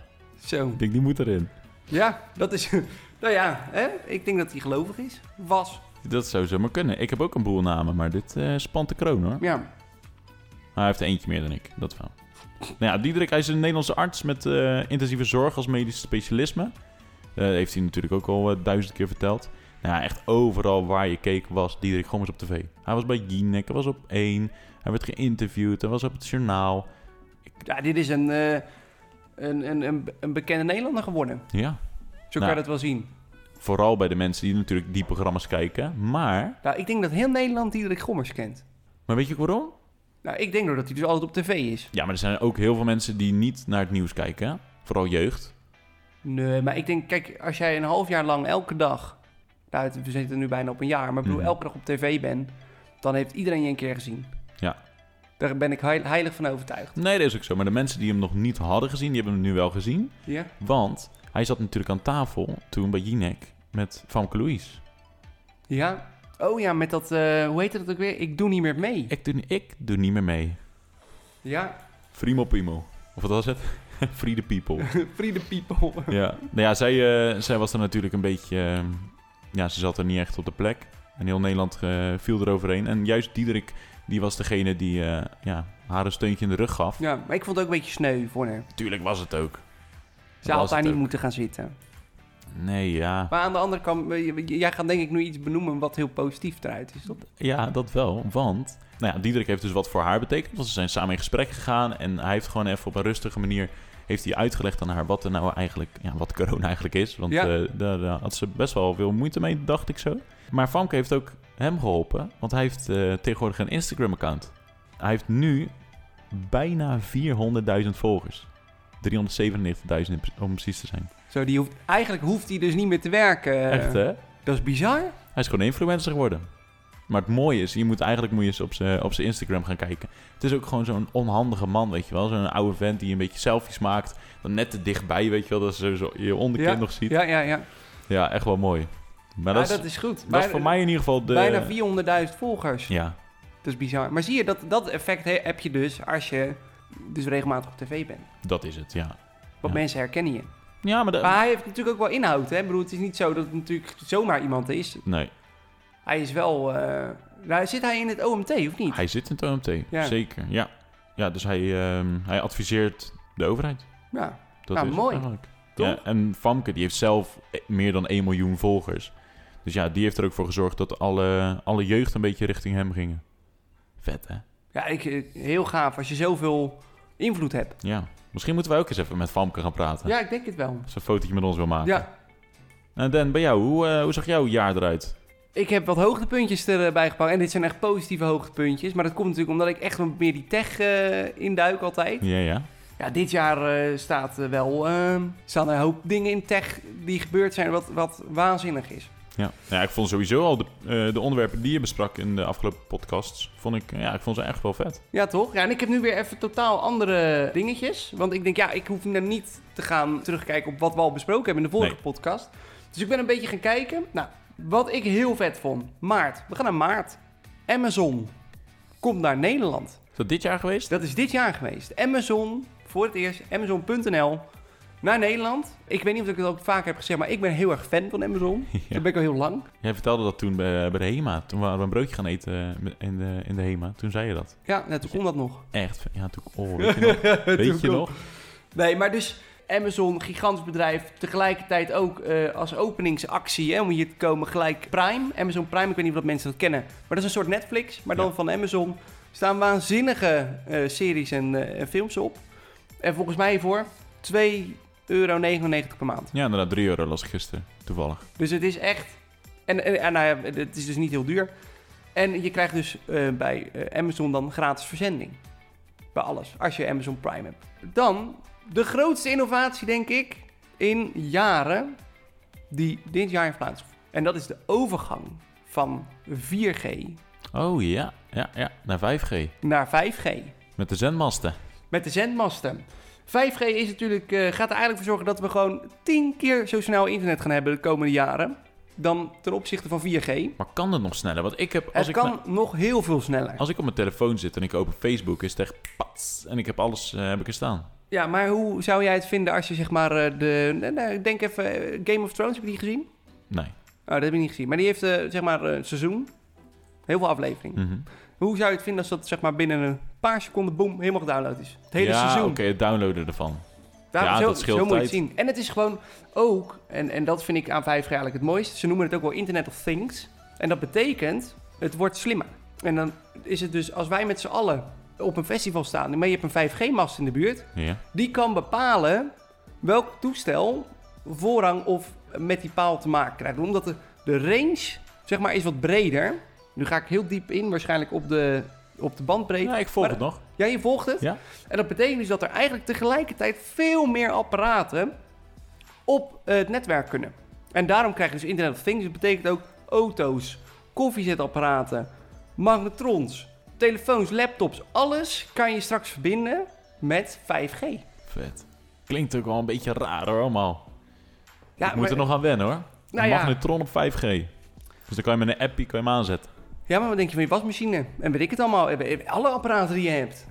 [SPEAKER 1] Zo.
[SPEAKER 2] Ik denk, die moet erin.
[SPEAKER 1] Ja, dat is. Nou ja, hè? ik denk dat hij gelovig is. Was.
[SPEAKER 2] Dat zou zomaar kunnen. Ik heb ook een boel namen, maar dit eh, spant de kroon hoor.
[SPEAKER 1] Ja.
[SPEAKER 2] Maar Nou, hij heeft er eentje meer dan ik, dat wel. Nou ja, Diederik, hij is een Nederlandse arts met eh, intensieve zorg als medisch specialisme. Eh, heeft hij natuurlijk ook al eh, duizend keer verteld. Nou ja, echt overal waar je keek was Diederik Gommers op tv. Hij was bij Jinek, hij was op 1, hij werd geïnterviewd, hij was op het journaal.
[SPEAKER 1] ja, dit is een, eh, een, een, een, een bekende Nederlander geworden.
[SPEAKER 2] Ja,
[SPEAKER 1] Zo kan
[SPEAKER 2] Nou.
[SPEAKER 1] je dat wel zien.
[SPEAKER 2] vooral bij de mensen die natuurlijk die programma's kijken. Maar,
[SPEAKER 1] Nou, ik denk dat heel Nederland Diederik Gommers kent.
[SPEAKER 2] maar weet je ook waarom?
[SPEAKER 1] Nou, ik denk doordat hij dus altijd op tv is.
[SPEAKER 2] Ja, maar er zijn ook heel veel mensen die niet naar het nieuws kijken. hè? Vooral jeugd.
[SPEAKER 1] Nee, maar ik denk, kijk, als jij een half jaar lang elke dag. Nou, het- we zitten nu bijna op een jaar, maar ik bedoel,
[SPEAKER 2] Mhm.
[SPEAKER 1] elke dag op tv bent. dan heeft iedereen je een keer gezien.
[SPEAKER 2] Ja.
[SPEAKER 1] Daar ben ik heil- heilig van overtuigd.
[SPEAKER 2] Nee, dat is ook zo. Maar de mensen die hem nog niet hadden gezien, die hebben hem nu wel gezien.
[SPEAKER 1] Ja?
[SPEAKER 2] Want hij zat natuurlijk aan tafel toen bij Jinek met Famke Louise.
[SPEAKER 1] Ja? Oh ja, met dat, eh, hoe heet dat ook weer? Ik doe niet meer mee.
[SPEAKER 2] Ik doe, ik doe niet meer mee.
[SPEAKER 1] Ja,
[SPEAKER 2] Frimo Primo. Of wat was het? Free the people.
[SPEAKER 1] Free the people.
[SPEAKER 2] ja. Nou ja, zij, eh, zij was er natuurlijk een beetje... eh, ja, ze zat er niet echt op de plek. En heel Nederland eh, viel eroverheen. En juist Diederik, die was degene die eh, ja, haar een steuntje in de rug gaf.
[SPEAKER 1] Ja, maar ik vond het ook een beetje sneu voor haar.
[SPEAKER 2] Tuurlijk was het ook.
[SPEAKER 1] Ze had
[SPEAKER 2] Was
[SPEAKER 1] daar
[SPEAKER 2] het
[SPEAKER 1] niet
[SPEAKER 2] ook.
[SPEAKER 1] moeten gaan zitten.
[SPEAKER 2] Nee, ja.
[SPEAKER 1] Maar aan de andere kant, eh, j- jij gaat denk ik nu iets benoemen wat heel positief eruit is. toch?
[SPEAKER 2] Ja, dat wel. Want nou ja, Diederik heeft dus wat voor haar betekend. Want ze zijn samen in gesprek gegaan. En hij heeft gewoon even op een rustige manier heeft hij uitgelegd aan haar wat er nou eigenlijk, ja, wat corona eigenlijk is. Want
[SPEAKER 1] Ja.
[SPEAKER 2] eh, daar, daar had ze best wel veel moeite mee, dacht ik zo. Maar Famke heeft ook hem geholpen. Want hij heeft eh, tegenwoordig een Instagram-account. Hij heeft nu bijna 400.000 volgers. 397.000 in pre- om precies te zijn.
[SPEAKER 1] Zo, die hoeft, eigenlijk hoeft hij dus niet meer te werken.
[SPEAKER 2] Echt, hè?
[SPEAKER 1] Dat is bizar.
[SPEAKER 2] Hij is gewoon een influencer geworden. Maar het mooie is, je moet eigenlijk moet je eens op zijn op zijn Instagram gaan kijken. Het is ook gewoon zo'n onhandige man, weet je wel. Zo'n oude vent die een beetje selfies maakt. Dan net te dichtbij, weet je wel, dat ze zo je onderkin
[SPEAKER 1] Ja,
[SPEAKER 2] nog ziet. Ja.
[SPEAKER 1] Ja, ja, ja.
[SPEAKER 2] echt wel mooi.
[SPEAKER 1] Ja,
[SPEAKER 2] Maar dat, is, dat,
[SPEAKER 1] goed.
[SPEAKER 2] is
[SPEAKER 1] Bijna-
[SPEAKER 2] voor mij in ieder geval de...
[SPEAKER 1] Bijna 400.000 volgers.
[SPEAKER 2] Ja,
[SPEAKER 1] Dat is bizar. Maar zie je, dat, dat effect he- heb je dus als je dus regelmatig op tv bent.
[SPEAKER 2] dat is het, ja.
[SPEAKER 1] Want
[SPEAKER 2] Ja.
[SPEAKER 1] mensen herkennen je.
[SPEAKER 2] Ja, maar... dat-
[SPEAKER 1] Maar hij heeft natuurlijk ook wel inhoud, hè? Ik bedoel, het is niet zo dat het natuurlijk zomaar iemand is.
[SPEAKER 2] Nee,
[SPEAKER 1] Hij is wel... eh, nou, zit hij in het OMT of niet?
[SPEAKER 2] hij zit in het OMT.
[SPEAKER 1] Ja.
[SPEAKER 2] Zeker, ja. Ja, dus hij, ehm, hij adviseert de overheid.
[SPEAKER 1] Ja.
[SPEAKER 2] Dat
[SPEAKER 1] Nou,
[SPEAKER 2] is het
[SPEAKER 1] mooi.
[SPEAKER 2] eigenlijk.
[SPEAKER 1] Toch?
[SPEAKER 2] Ja, en Famke die heeft zelf eh, meer dan 1 miljoen volgers. Dus ja, die heeft er ook voor gezorgd dat alle, alle jeugd een beetje richting hem gingen. Vet, hè?
[SPEAKER 1] Ja, ik, eh, heel gaaf als je zoveel invloed hebt.
[SPEAKER 2] Ja. Misschien moeten wij ook eens even met Famke gaan praten.
[SPEAKER 1] Ja, ik denk het wel.
[SPEAKER 2] Als ze een fotootje met ons wil maken.
[SPEAKER 1] Ja,
[SPEAKER 2] En Dan, bij jou, hoe, eh, hoe zag jouw jaar eruit?
[SPEAKER 1] ik heb wat hoogtepuntjes erbij gepakt. En dit zijn echt positieve hoogtepuntjes. Maar dat komt natuurlijk omdat ik echt wat meer die tech eh, induik altijd.
[SPEAKER 2] Ja, ja.
[SPEAKER 1] Ja, dit jaar eh, staat eh, wel, ehm, staan er een hoop dingen in tech die gebeurd zijn wat, wat waanzinnig is.
[SPEAKER 2] Ja. Nou ja, ik vond sowieso al de, eh, de onderwerpen die je besprak in de afgelopen podcasts, vond ik, eh, ja, ik vond ze echt wel vet.
[SPEAKER 1] Ja, toch? Ja, en ik heb nu weer even totaal andere dingetjes. Want ik denk, ja, ik hoef nou niet te gaan terugkijken op wat we al besproken hebben in de vorige
[SPEAKER 2] Nee.
[SPEAKER 1] podcast. Dus ik ben een beetje gaan kijken. Nou, wat ik heel vet vond. Maart. We gaan naar maart. Amazon komt naar Nederland.
[SPEAKER 2] Is dat dit jaar geweest?
[SPEAKER 1] Dat is dit jaar geweest. Amazon, voor het eerst, Amazon.nl naar Nederland. Ik weet niet of ik het ook vaak heb gezegd, maar ik ben heel erg fan van Amazon.
[SPEAKER 2] Ja.
[SPEAKER 1] Dat ben ik al heel lang.
[SPEAKER 2] Jij vertelde dat toen bij, bij de HEMA. Toen waren we een broodje gaan eten eh, in de, in de HEMA. Toen zei je dat.
[SPEAKER 1] Ja, nou, toen kon dat nog.
[SPEAKER 2] Echt? Ja, toen... Oh, weet je nog? Weet je
[SPEAKER 1] kon-
[SPEAKER 2] nog?
[SPEAKER 1] Nee, maar dus Amazon, gigantisch bedrijf. Tegelijkertijd ook eh, als openingsactie, hè, om hier te komen, gelijk Prime. Amazon Prime, ik weet niet of dat mensen dat kennen. Maar dat is een soort Netflix, maar dan
[SPEAKER 2] Ja.
[SPEAKER 1] van Amazon. Staan waanzinnige eh, series en eh, en films op. En volgens mij voor 2,99 euro per maand.
[SPEAKER 2] Ja, inderdaad, 3 euro las ik gisteren. Toevallig.
[SPEAKER 1] Dus het is echt. En, en, en nou ja, het is dus niet heel duur. En je krijgt dus eh, bij eh, Amazon dan gratis verzending. Bij alles, als je Amazon Prime hebt. Dan de grootste innovatie, denk ik, in jaren die dit jaar heeft plaatsgevonden. En dat is de overgang van 4G
[SPEAKER 2] Oh ja, ja, ja. Naar 5G.
[SPEAKER 1] naar 5G.
[SPEAKER 2] Met de zendmasten.
[SPEAKER 1] Met de zendmasten. 5G is natuurlijk, eh, gaat er eigenlijk voor zorgen dat we gewoon 10 keer zo snel internet gaan hebben de komende jaren. Dan ten opzichte van 4G.
[SPEAKER 2] Maar kan het nog sneller? Want ik heb... Als
[SPEAKER 1] Het
[SPEAKER 2] ik,
[SPEAKER 1] kan
[SPEAKER 2] na-
[SPEAKER 1] nog heel veel sneller.
[SPEAKER 2] als ik op mijn telefoon zit en ik open Facebook, is het echt... Pats, en ik heb alles eh, heb ik er staan.
[SPEAKER 1] Ja, maar hoe zou jij het vinden als je zeg maar eh, de... nou, nou, Denk even, eh, Game of Thrones, heb je die gezien?
[SPEAKER 2] Nee.
[SPEAKER 1] Oh, dat heb ik niet gezien. Maar die heeft eh, zeg maar eh, een seizoen. Heel veel afleveringen.
[SPEAKER 2] Mhm.
[SPEAKER 1] Hoe zou je het vinden als dat zeg maar binnen een paar seconden, boom, helemaal gedownload is? Het hele
[SPEAKER 2] ja,
[SPEAKER 1] seizoen.
[SPEAKER 2] oké, het downloaden ervan.
[SPEAKER 1] Daarom
[SPEAKER 2] Ja,
[SPEAKER 1] zo,
[SPEAKER 2] dat scheelt
[SPEAKER 1] zo moet je het
[SPEAKER 2] tijd.
[SPEAKER 1] zien. En het is gewoon ook, en, en dat vind ik aan 5G eigenlijk het mooiste. Ze noemen het ook wel Internet of Things. En dat betekent, het wordt slimmer. En dan is het dus, als wij met z'n allen op een festival staan... maar je hebt een 5G-mast in de buurt...
[SPEAKER 2] Ja.
[SPEAKER 1] die kan bepalen welk toestel voorrang of met die paal te maken krijgt. Omdat de, de range, zeg maar, is wat breder. Nu ga ik heel diep in, waarschijnlijk op de, op de bandbreedte.
[SPEAKER 2] ja, ik volg
[SPEAKER 1] Maar-
[SPEAKER 2] het nog.
[SPEAKER 1] Ja, je volgt het.
[SPEAKER 2] Ja.
[SPEAKER 1] En dat betekent dus dat er eigenlijk tegelijkertijd veel meer apparaten op eh, het netwerk kunnen. En daarom krijg je dus Internet of Things. Dat betekent ook auto's, koffiezetapparaten, magnetrons, telefoons, laptops. Alles kan je straks verbinden met 5G.
[SPEAKER 2] Vet. Klinkt ook wel een beetje raar hoor, allemaal.
[SPEAKER 1] Ja,
[SPEAKER 2] ik moet
[SPEAKER 1] maar-
[SPEAKER 2] er nog aan wennen hoor.
[SPEAKER 1] Nou ja.
[SPEAKER 2] Magnetron op 5G. Dus dan kan je met een appie kan je hem aanzetten.
[SPEAKER 1] Ja, maar wat denk je van je wasmachine? En weet ik het allemaal? Alle apparaten die je hebt.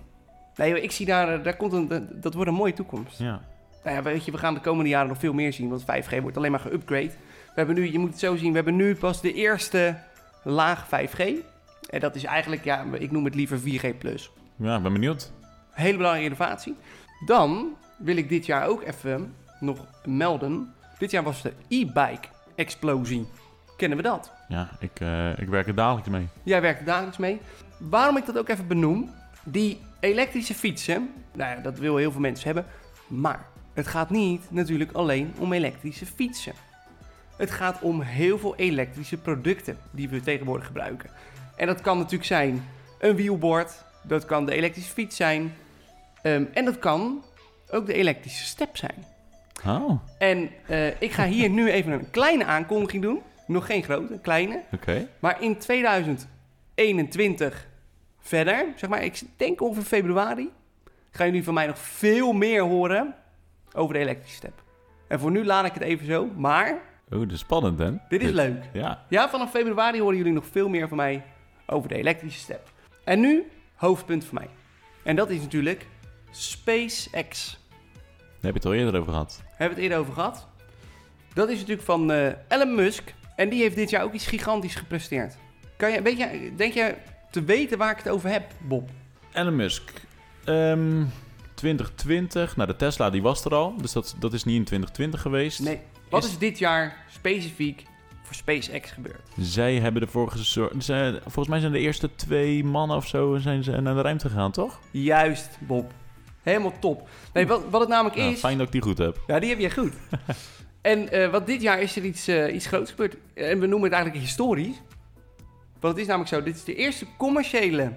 [SPEAKER 1] Nee, joh, ik zie daar, eh, daar komt een, dat- dat wordt een mooie toekomst.
[SPEAKER 2] Ja.
[SPEAKER 1] Nou ja, weet je, we gaan de komende jaren nog veel meer zien, want 5G wordt alleen maar geüpgrade. We hebben nu, je moet het zo zien, we hebben nu pas de eerste laag 5G. En dat is eigenlijk, ja, ik noem het liever 4G+.
[SPEAKER 2] ja, ik ben benieuwd.
[SPEAKER 1] Hele belangrijke innovatie. Dan wil ik dit jaar ook even nog melden. Dit jaar was de e-bike explosie. Kennen we dat?
[SPEAKER 2] Ja, ik, eh, ik werk er dadelijk mee.
[SPEAKER 1] Jij werkt er dagelijks mee. Waarom ik dat ook even benoem, die elektrische fietsen, nou ja, dat wil heel veel mensen hebben, maar het gaat niet natuurlijk alleen om elektrische fietsen. Het gaat om heel veel elektrische producten die we tegenwoordig gebruiken. En dat kan natuurlijk zijn een wielbord, dat kan de elektrische fiets zijn ehm, en dat kan ook de elektrische step zijn.
[SPEAKER 2] Oh, oké.
[SPEAKER 1] En eh, ik ga hier nu even een kleine aankondiging doen, nog geen grote, een kleine. Maar in 2021 verder, zeg maar, ik denk ongeveer februari, gaan jullie van mij nog veel meer horen over de elektrische step. En voor nu laat ik het even zo, maar
[SPEAKER 2] Oh, dat is spannend, hè?
[SPEAKER 1] dit is leuk.
[SPEAKER 2] Ja.
[SPEAKER 1] Ja, vanaf februari horen jullie nog veel meer van mij over de elektrische step. En nu, hoofdpunt van mij. En dat is natuurlijk SpaceX.
[SPEAKER 2] Daar heb je het al eerder over gehad.
[SPEAKER 1] Hebben we het eerder over gehad? Dat is natuurlijk van eh, Elon Musk. En die heeft dit jaar ook iets gigantisch gepresteerd. Kan je, weet je, denk je te weten waar ik het over heb, Bob?
[SPEAKER 2] Elon Musk. Ehm, 2020. Nou, de Tesla die was er al. Dus dat, dat is niet in 2020 geweest.
[SPEAKER 1] Nee. Wat
[SPEAKER 2] Is-
[SPEAKER 1] is dit jaar specifiek voor SpaceX gebeurd?
[SPEAKER 2] Zij hebben ervoor gezorgd. ze- Volgens mij zijn de eerste twee mannen of zo zijn ze naar de ruimte gegaan, toch?
[SPEAKER 1] Juist, Bob. Helemaal top. Nee, wat, wat het namelijk
[SPEAKER 2] Nou,
[SPEAKER 1] is...
[SPEAKER 2] fijn dat ik die goed heb.
[SPEAKER 1] Ja, die heb je goed. en eh, wat dit jaar is er iets, eh, iets groots gebeurd. En we noemen het eigenlijk historisch. Want het is namelijk zo, dit is de eerste commerciële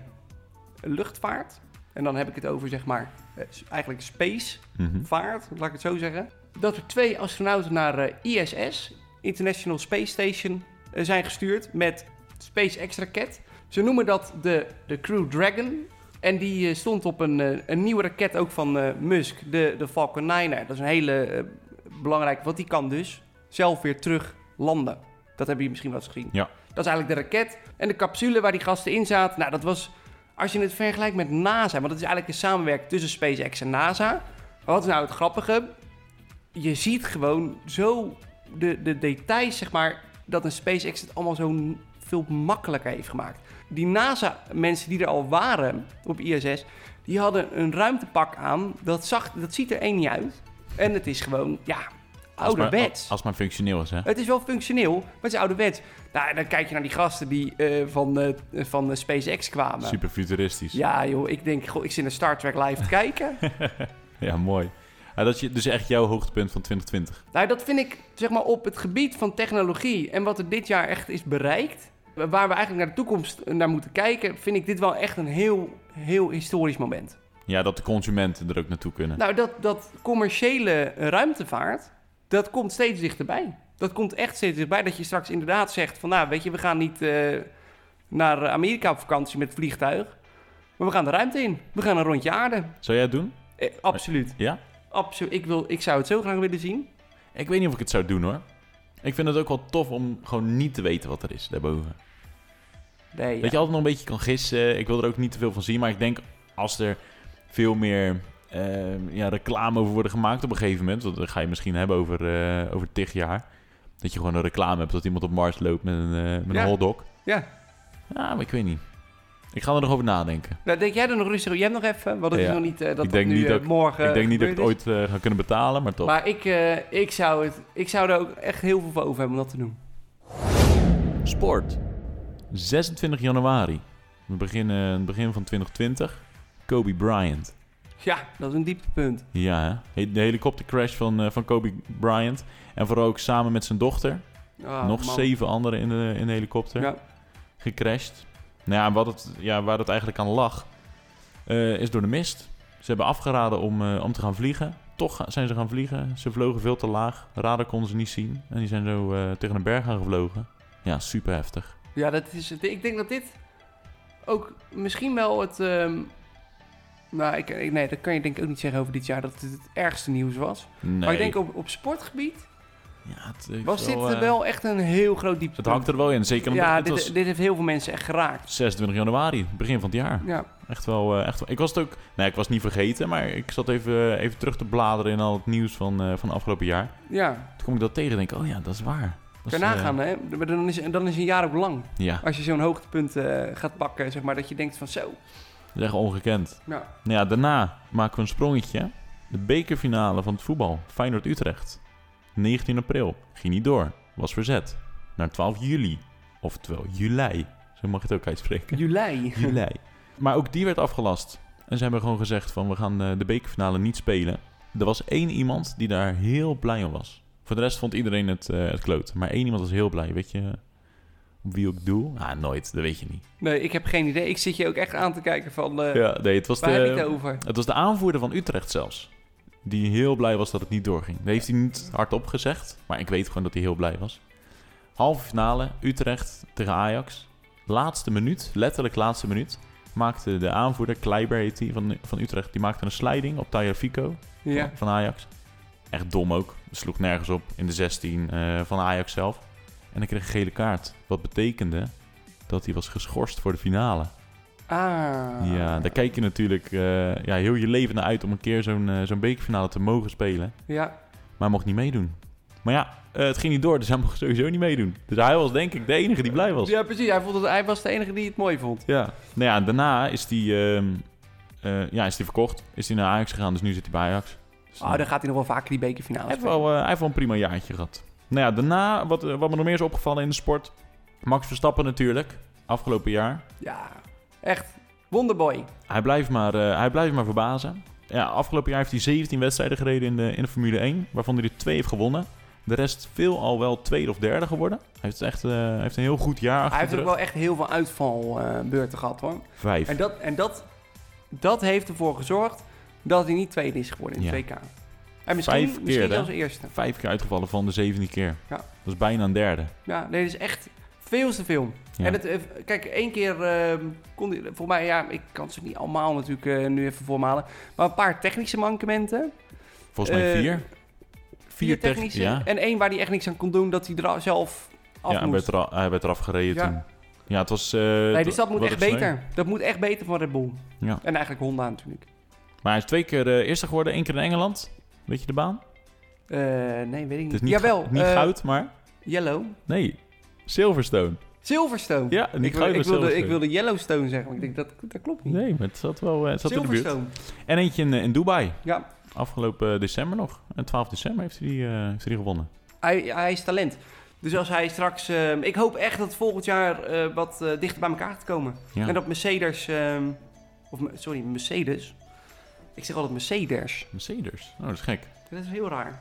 [SPEAKER 1] luchtvaart. En dan heb ik het over, zeg maar, eh, s- eigenlijk spacevaart,
[SPEAKER 2] Mhm.
[SPEAKER 1] laat ik het zo zeggen. Dat er twee astronauten naar eh, ISS, International Space Station, eh, zijn gestuurd met SpaceX-raket. Ze noemen dat de, de Crew Dragon. En die eh, stond op een, eh, een nieuwe raket ook van eh, Musk, de, de Falcon 9. Dat is een hele eh, belangrijke, want die kan dus zelf weer terug landen. Dat hebben jullie misschien wel eens gezien.
[SPEAKER 2] Ja.
[SPEAKER 1] Dat is eigenlijk de raket. En de capsule waar die gasten in zaten, nou dat was... Als je het vergelijkt met NASA, want dat is eigenlijk een samenwerking tussen SpaceX en NASA. Maar wat is nou het grappige? Je ziet gewoon zo de, de details, zeg maar, dat een SpaceX het allemaal zo n- veel makkelijker heeft gemaakt. Die NASA-mensen die er al waren op ISS, die hadden een ruimtepak aan. Dat, zag, dat ziet er één niet uit. En het is gewoon, ja,
[SPEAKER 2] Als maar-
[SPEAKER 1] ouderwets.
[SPEAKER 2] Als het maar functioneel is, hè?
[SPEAKER 1] Het is wel functioneel, maar het is ouderwets. Nou, en dan kijk je naar die gasten die eh, van, eh, van eh, SpaceX kwamen.
[SPEAKER 2] Super futuristisch. Ja,
[SPEAKER 1] Ja, joh, ik denk, goh, ik zit naar Star Trek live te kijken.
[SPEAKER 2] mooi. Ah, dat is je- dus echt jouw hoogtepunt van 2020.
[SPEAKER 1] Nou, dat vind ik zeg maar op het gebied van technologie en wat er dit jaar echt is bereikt, waar we eigenlijk naar de toekomst eh, naar moeten kijken, vind ik dit wel echt een heel, heel historisch moment.
[SPEAKER 2] Ja, dat de consumenten er ook naartoe kunnen.
[SPEAKER 1] Nou, dat, dat commerciële ruimtevaart, dat komt steeds dichterbij. Dat komt echt steeds dichterbij dat je straks inderdaad zegt van, nou, weet je, we gaan niet eh, naar Amerika op vakantie met vliegtuig, maar we gaan de ruimte in. We gaan een rondje aarde.
[SPEAKER 2] Zou jij het doen?
[SPEAKER 1] Eh, absoluut.
[SPEAKER 2] Ja?
[SPEAKER 1] Absoluut. Ik, wil, ik zou het zo graag willen zien.
[SPEAKER 2] Ik weet niet of ik het zou doen, hoor. Ik vind het ook wel tof om gewoon niet te weten wat er is daarboven.
[SPEAKER 1] Nee, ja.
[SPEAKER 2] Dat je altijd nog een beetje kan gissen. Ik wil er ook niet te veel van zien. Maar ik denk als er veel meer eh, ja, reclame over worden gemaakt op een gegeven moment. Want dan ga je misschien hebben over, eh over tig jaar. Dat je gewoon een reclame hebt dat iemand op Mars loopt met een, eh met
[SPEAKER 1] Ja.
[SPEAKER 2] een hotdog.
[SPEAKER 1] Ja.
[SPEAKER 2] Ja, maar ik weet niet. Ik ga er nog over nadenken.
[SPEAKER 1] Nou, denk jij er nog rustig over? Jij hebt nog even, want het
[SPEAKER 2] Ja.
[SPEAKER 1] is nog niet eh, dat
[SPEAKER 2] Ik
[SPEAKER 1] dat
[SPEAKER 2] denk
[SPEAKER 1] nu
[SPEAKER 2] niet
[SPEAKER 1] eh,
[SPEAKER 2] dat ik-
[SPEAKER 1] morgen
[SPEAKER 2] ik denk niet dat ik
[SPEAKER 1] gebeurd
[SPEAKER 2] het ooit eh, ga kunnen betalen, maar
[SPEAKER 1] is.
[SPEAKER 2] toch.
[SPEAKER 1] Maar ik, eh, ik, zou het, ik zou er ook echt heel veel voor over hebben om dat te doen.
[SPEAKER 2] Sport. 26 januari. We beginnen het begin van 2020. Kobe Bryant.
[SPEAKER 1] Ja, dat is een dieptepunt.
[SPEAKER 2] Ja, hè? de helikoptercrash van, eh, van Kobe Bryant. En vooral ook samen met zijn dochter.
[SPEAKER 1] Ah,
[SPEAKER 2] Nog
[SPEAKER 1] man.
[SPEAKER 2] zeven anderen in de, in de helikopter.
[SPEAKER 1] Ja.
[SPEAKER 2] Gecrashed. Nou ja, wat het, ja, waar het eigenlijk aan lag, eh, is door de mist. Ze hebben afgeraden om, eh, om te gaan vliegen. Toch ga- zijn ze gaan vliegen. Ze vlogen veel te laag. Radar konden ze niet zien. En die zijn zo eh, tegen een berg aan gevlogen. Ja, super heftig.
[SPEAKER 1] ja, dat is het. Ik denk dat dit ook misschien wel het... ehm, nou, ik, ik- nee, dat kan je denk ik ook niet zeggen over dit jaar dat het het ergste nieuws was.
[SPEAKER 2] Nee.
[SPEAKER 1] Maar ik denk op, op sportgebied
[SPEAKER 2] Ja, het, ik
[SPEAKER 1] Was dit
[SPEAKER 2] wel,
[SPEAKER 1] eh,
[SPEAKER 2] eh,
[SPEAKER 1] wel echt een heel groot
[SPEAKER 2] Het
[SPEAKER 1] dieptepunt?
[SPEAKER 2] hangt er wel in. Zeker omdat
[SPEAKER 1] Ja,
[SPEAKER 2] het
[SPEAKER 1] dit,
[SPEAKER 2] was
[SPEAKER 1] dit heeft heel veel mensen echt geraakt.
[SPEAKER 2] 26 januari, begin van het jaar.
[SPEAKER 1] Ja,
[SPEAKER 2] Echt wel, eh, echt wel. Ik was het ook... Nee, ik was het niet vergeten, maar ik zat even, eh, even terug te bladeren in al het nieuws van, eh, van afgelopen jaar.
[SPEAKER 1] ja.
[SPEAKER 2] Toen kom ik dat tegen en denk ik, oh ja, dat is waar. Dat is,
[SPEAKER 1] Daarna
[SPEAKER 2] eh,
[SPEAKER 1] gaan, hè? Maar Dan is, dan is een jaar ook lang.
[SPEAKER 2] Ja,
[SPEAKER 1] Als je zo'n hoogtepunt eh, gaat pakken, zeg maar, dat je denkt van zo.
[SPEAKER 2] dat is echt ongekend.
[SPEAKER 1] Nou,
[SPEAKER 2] Nou ja, daarna maken we een sprongetje. De bekerfinale van het voetbal, Feyenoord-Utrecht. 19 april, ging niet door, was verzet. Naar 12 juli, oftewel juli, zo mag je het ook uitspreken.
[SPEAKER 1] juli.
[SPEAKER 2] Juli. Maar ook die werd afgelast. En ze hebben gewoon gezegd van we gaan eh, de bekerfinale niet spelen. Er was één iemand die daar heel blij om was. Voor de rest vond iedereen het, eh, het kloot. Maar één iemand was heel blij. Weet je op wie ik doe? Ah, nooit. Dat weet je niet.
[SPEAKER 1] Nee, ik heb geen idee. Ik zit je ook echt aan te kijken van, eh
[SPEAKER 2] Ja, nee, het eh, was
[SPEAKER 1] waar heb je het
[SPEAKER 2] de,
[SPEAKER 1] over?
[SPEAKER 2] het was de aanvoerder van Utrecht zelfs. Die heel blij was dat het niet doorging. Dat heeft hij niet hardop gezegd. Maar ik weet gewoon dat hij heel blij was. Halve finale, Utrecht tegen Ajax. Laatste minuut, letterlijk laatste minuut, maakte de aanvoerder, Kleiber heet hij, van, van Utrecht, die maakte een sliding op Tyler Fico
[SPEAKER 1] Ja.
[SPEAKER 2] van, van Ajax. Echt dom ook. Sloeg nergens op in de 16 eh, van Ajax zelf. En hij kreeg een gele kaart. Wat betekende dat hij was geschorst voor de finale.
[SPEAKER 1] Ah.
[SPEAKER 2] Ja, daar kijk je natuurlijk eh, ja, heel je leven naar uit om een keer zo'n eh, zo'n bekerfinale te mogen spelen.
[SPEAKER 1] Ja,
[SPEAKER 2] Maar hij mocht niet meedoen. Maar ja, eh, het ging niet door, dus hij mocht sowieso niet meedoen. Dus hij was denk ik de enige die blij was.
[SPEAKER 1] ja precies. Hij, vond het, hij was de enige die het mooi vond.
[SPEAKER 2] Ja. Nou ja, en daarna is die, ehm, eh, ja, is die verkocht. Is hij naar Ajax gegaan, dus nu zit hij bij Ajax. Dus
[SPEAKER 1] Ah,
[SPEAKER 2] dan-
[SPEAKER 1] dan gaat hij nog wel vaker die bekerfinale
[SPEAKER 2] hij, heeft wel, eh, hij heeft wel een prima jaartje gehad. Nou ja, daarna, wat, eh, wat me nog meer is opgevallen in de sport. Max Verstappen natuurlijk, afgelopen jaar.
[SPEAKER 1] Ja, echt. Wonderboy.
[SPEAKER 2] Hij blijft maar, eh, hij blijft maar verbazen. Ja, afgelopen jaar heeft hij 17 wedstrijden gereden in de, in de Formule 1, waarvan hij er twee heeft gewonnen. De rest veelal wel tweede of derde geworden. Hij heeft, echt, eh, hij heeft een heel goed jaar achter
[SPEAKER 1] Hij heeft
[SPEAKER 2] de
[SPEAKER 1] ook
[SPEAKER 2] rug.
[SPEAKER 1] wel echt heel veel uitvalbeurten gehad hoor.
[SPEAKER 2] Vijf.
[SPEAKER 1] En, dat, en dat, dat heeft ervoor gezorgd dat hij niet tweede is geworden in
[SPEAKER 2] Ja.
[SPEAKER 1] het WK. En misschien,
[SPEAKER 2] Vijf keer,
[SPEAKER 1] misschien
[SPEAKER 2] hè?
[SPEAKER 1] zelfs eerste.
[SPEAKER 2] Vijf keer uitgevallen van de zevende keer.
[SPEAKER 1] Ja.
[SPEAKER 2] Dat is bijna een derde.
[SPEAKER 1] Ja, nee, dat is echt veel te veel.
[SPEAKER 2] Ja.
[SPEAKER 1] En het, eh, kijk, één keer eh, kon hij, voor mij, ja, ik kan ze niet allemaal natuurlijk eh, nu even voormalen. Maar een paar technische mankementen.
[SPEAKER 2] Volgens mij
[SPEAKER 1] eh,
[SPEAKER 2] vier.
[SPEAKER 1] Vier
[SPEAKER 2] tech-
[SPEAKER 1] technische.
[SPEAKER 2] Ja,
[SPEAKER 1] En één waar hij echt niks aan kon doen, dat hij er al- zelf af
[SPEAKER 2] ja hij,
[SPEAKER 1] moest.
[SPEAKER 2] werd er, hij werd eraf gereden
[SPEAKER 1] Ja.
[SPEAKER 2] toen. Ja, het was... eh,
[SPEAKER 1] Nee,
[SPEAKER 2] het
[SPEAKER 1] dus
[SPEAKER 2] wa-
[SPEAKER 1] dat moet
[SPEAKER 2] wat
[SPEAKER 1] echt
[SPEAKER 2] het sneu.
[SPEAKER 1] beter. Dat moet echt beter van Red Bull.
[SPEAKER 2] Ja.
[SPEAKER 1] En eigenlijk Honda natuurlijk.
[SPEAKER 2] Maar hij is twee keer eh, eerste geworden, één keer in Engeland. Weet je de baan?
[SPEAKER 1] Eh, nee, weet ik niet.
[SPEAKER 2] Het is niet,
[SPEAKER 1] Jawel,
[SPEAKER 2] gou- niet
[SPEAKER 1] eh,
[SPEAKER 2] goud, maar...
[SPEAKER 1] Yellow.
[SPEAKER 2] Nee, Silverstone.
[SPEAKER 1] Silverstone.
[SPEAKER 2] Ja, niet
[SPEAKER 1] ik, wil- ik,
[SPEAKER 2] goud, maar
[SPEAKER 1] wilde, ik
[SPEAKER 2] Silverstone.
[SPEAKER 1] wilde Yellowstone zeggen, maar ik denk dat, dat klopt niet.
[SPEAKER 2] Nee, maar het zat wel eh, het zat in de buurt.
[SPEAKER 1] Silverstone.
[SPEAKER 2] En eentje in, eh, in Dubai.
[SPEAKER 1] Ja,
[SPEAKER 2] Afgelopen eh, december nog. En 12 december heeft hij die, eh, heeft hij die gewonnen.
[SPEAKER 1] hij, hij is talent. Dus als hij straks... ehm, ik hoop echt dat volgend jaar eh, wat eh, dichter bij elkaar gaat komen.
[SPEAKER 2] Ja.
[SPEAKER 1] En dat Mercedes... ehm, of, me- sorry, Mercedes. Ik zeg altijd Mercedes.
[SPEAKER 2] Mercedes. Oh, dat is gek.
[SPEAKER 1] Dat is heel raar.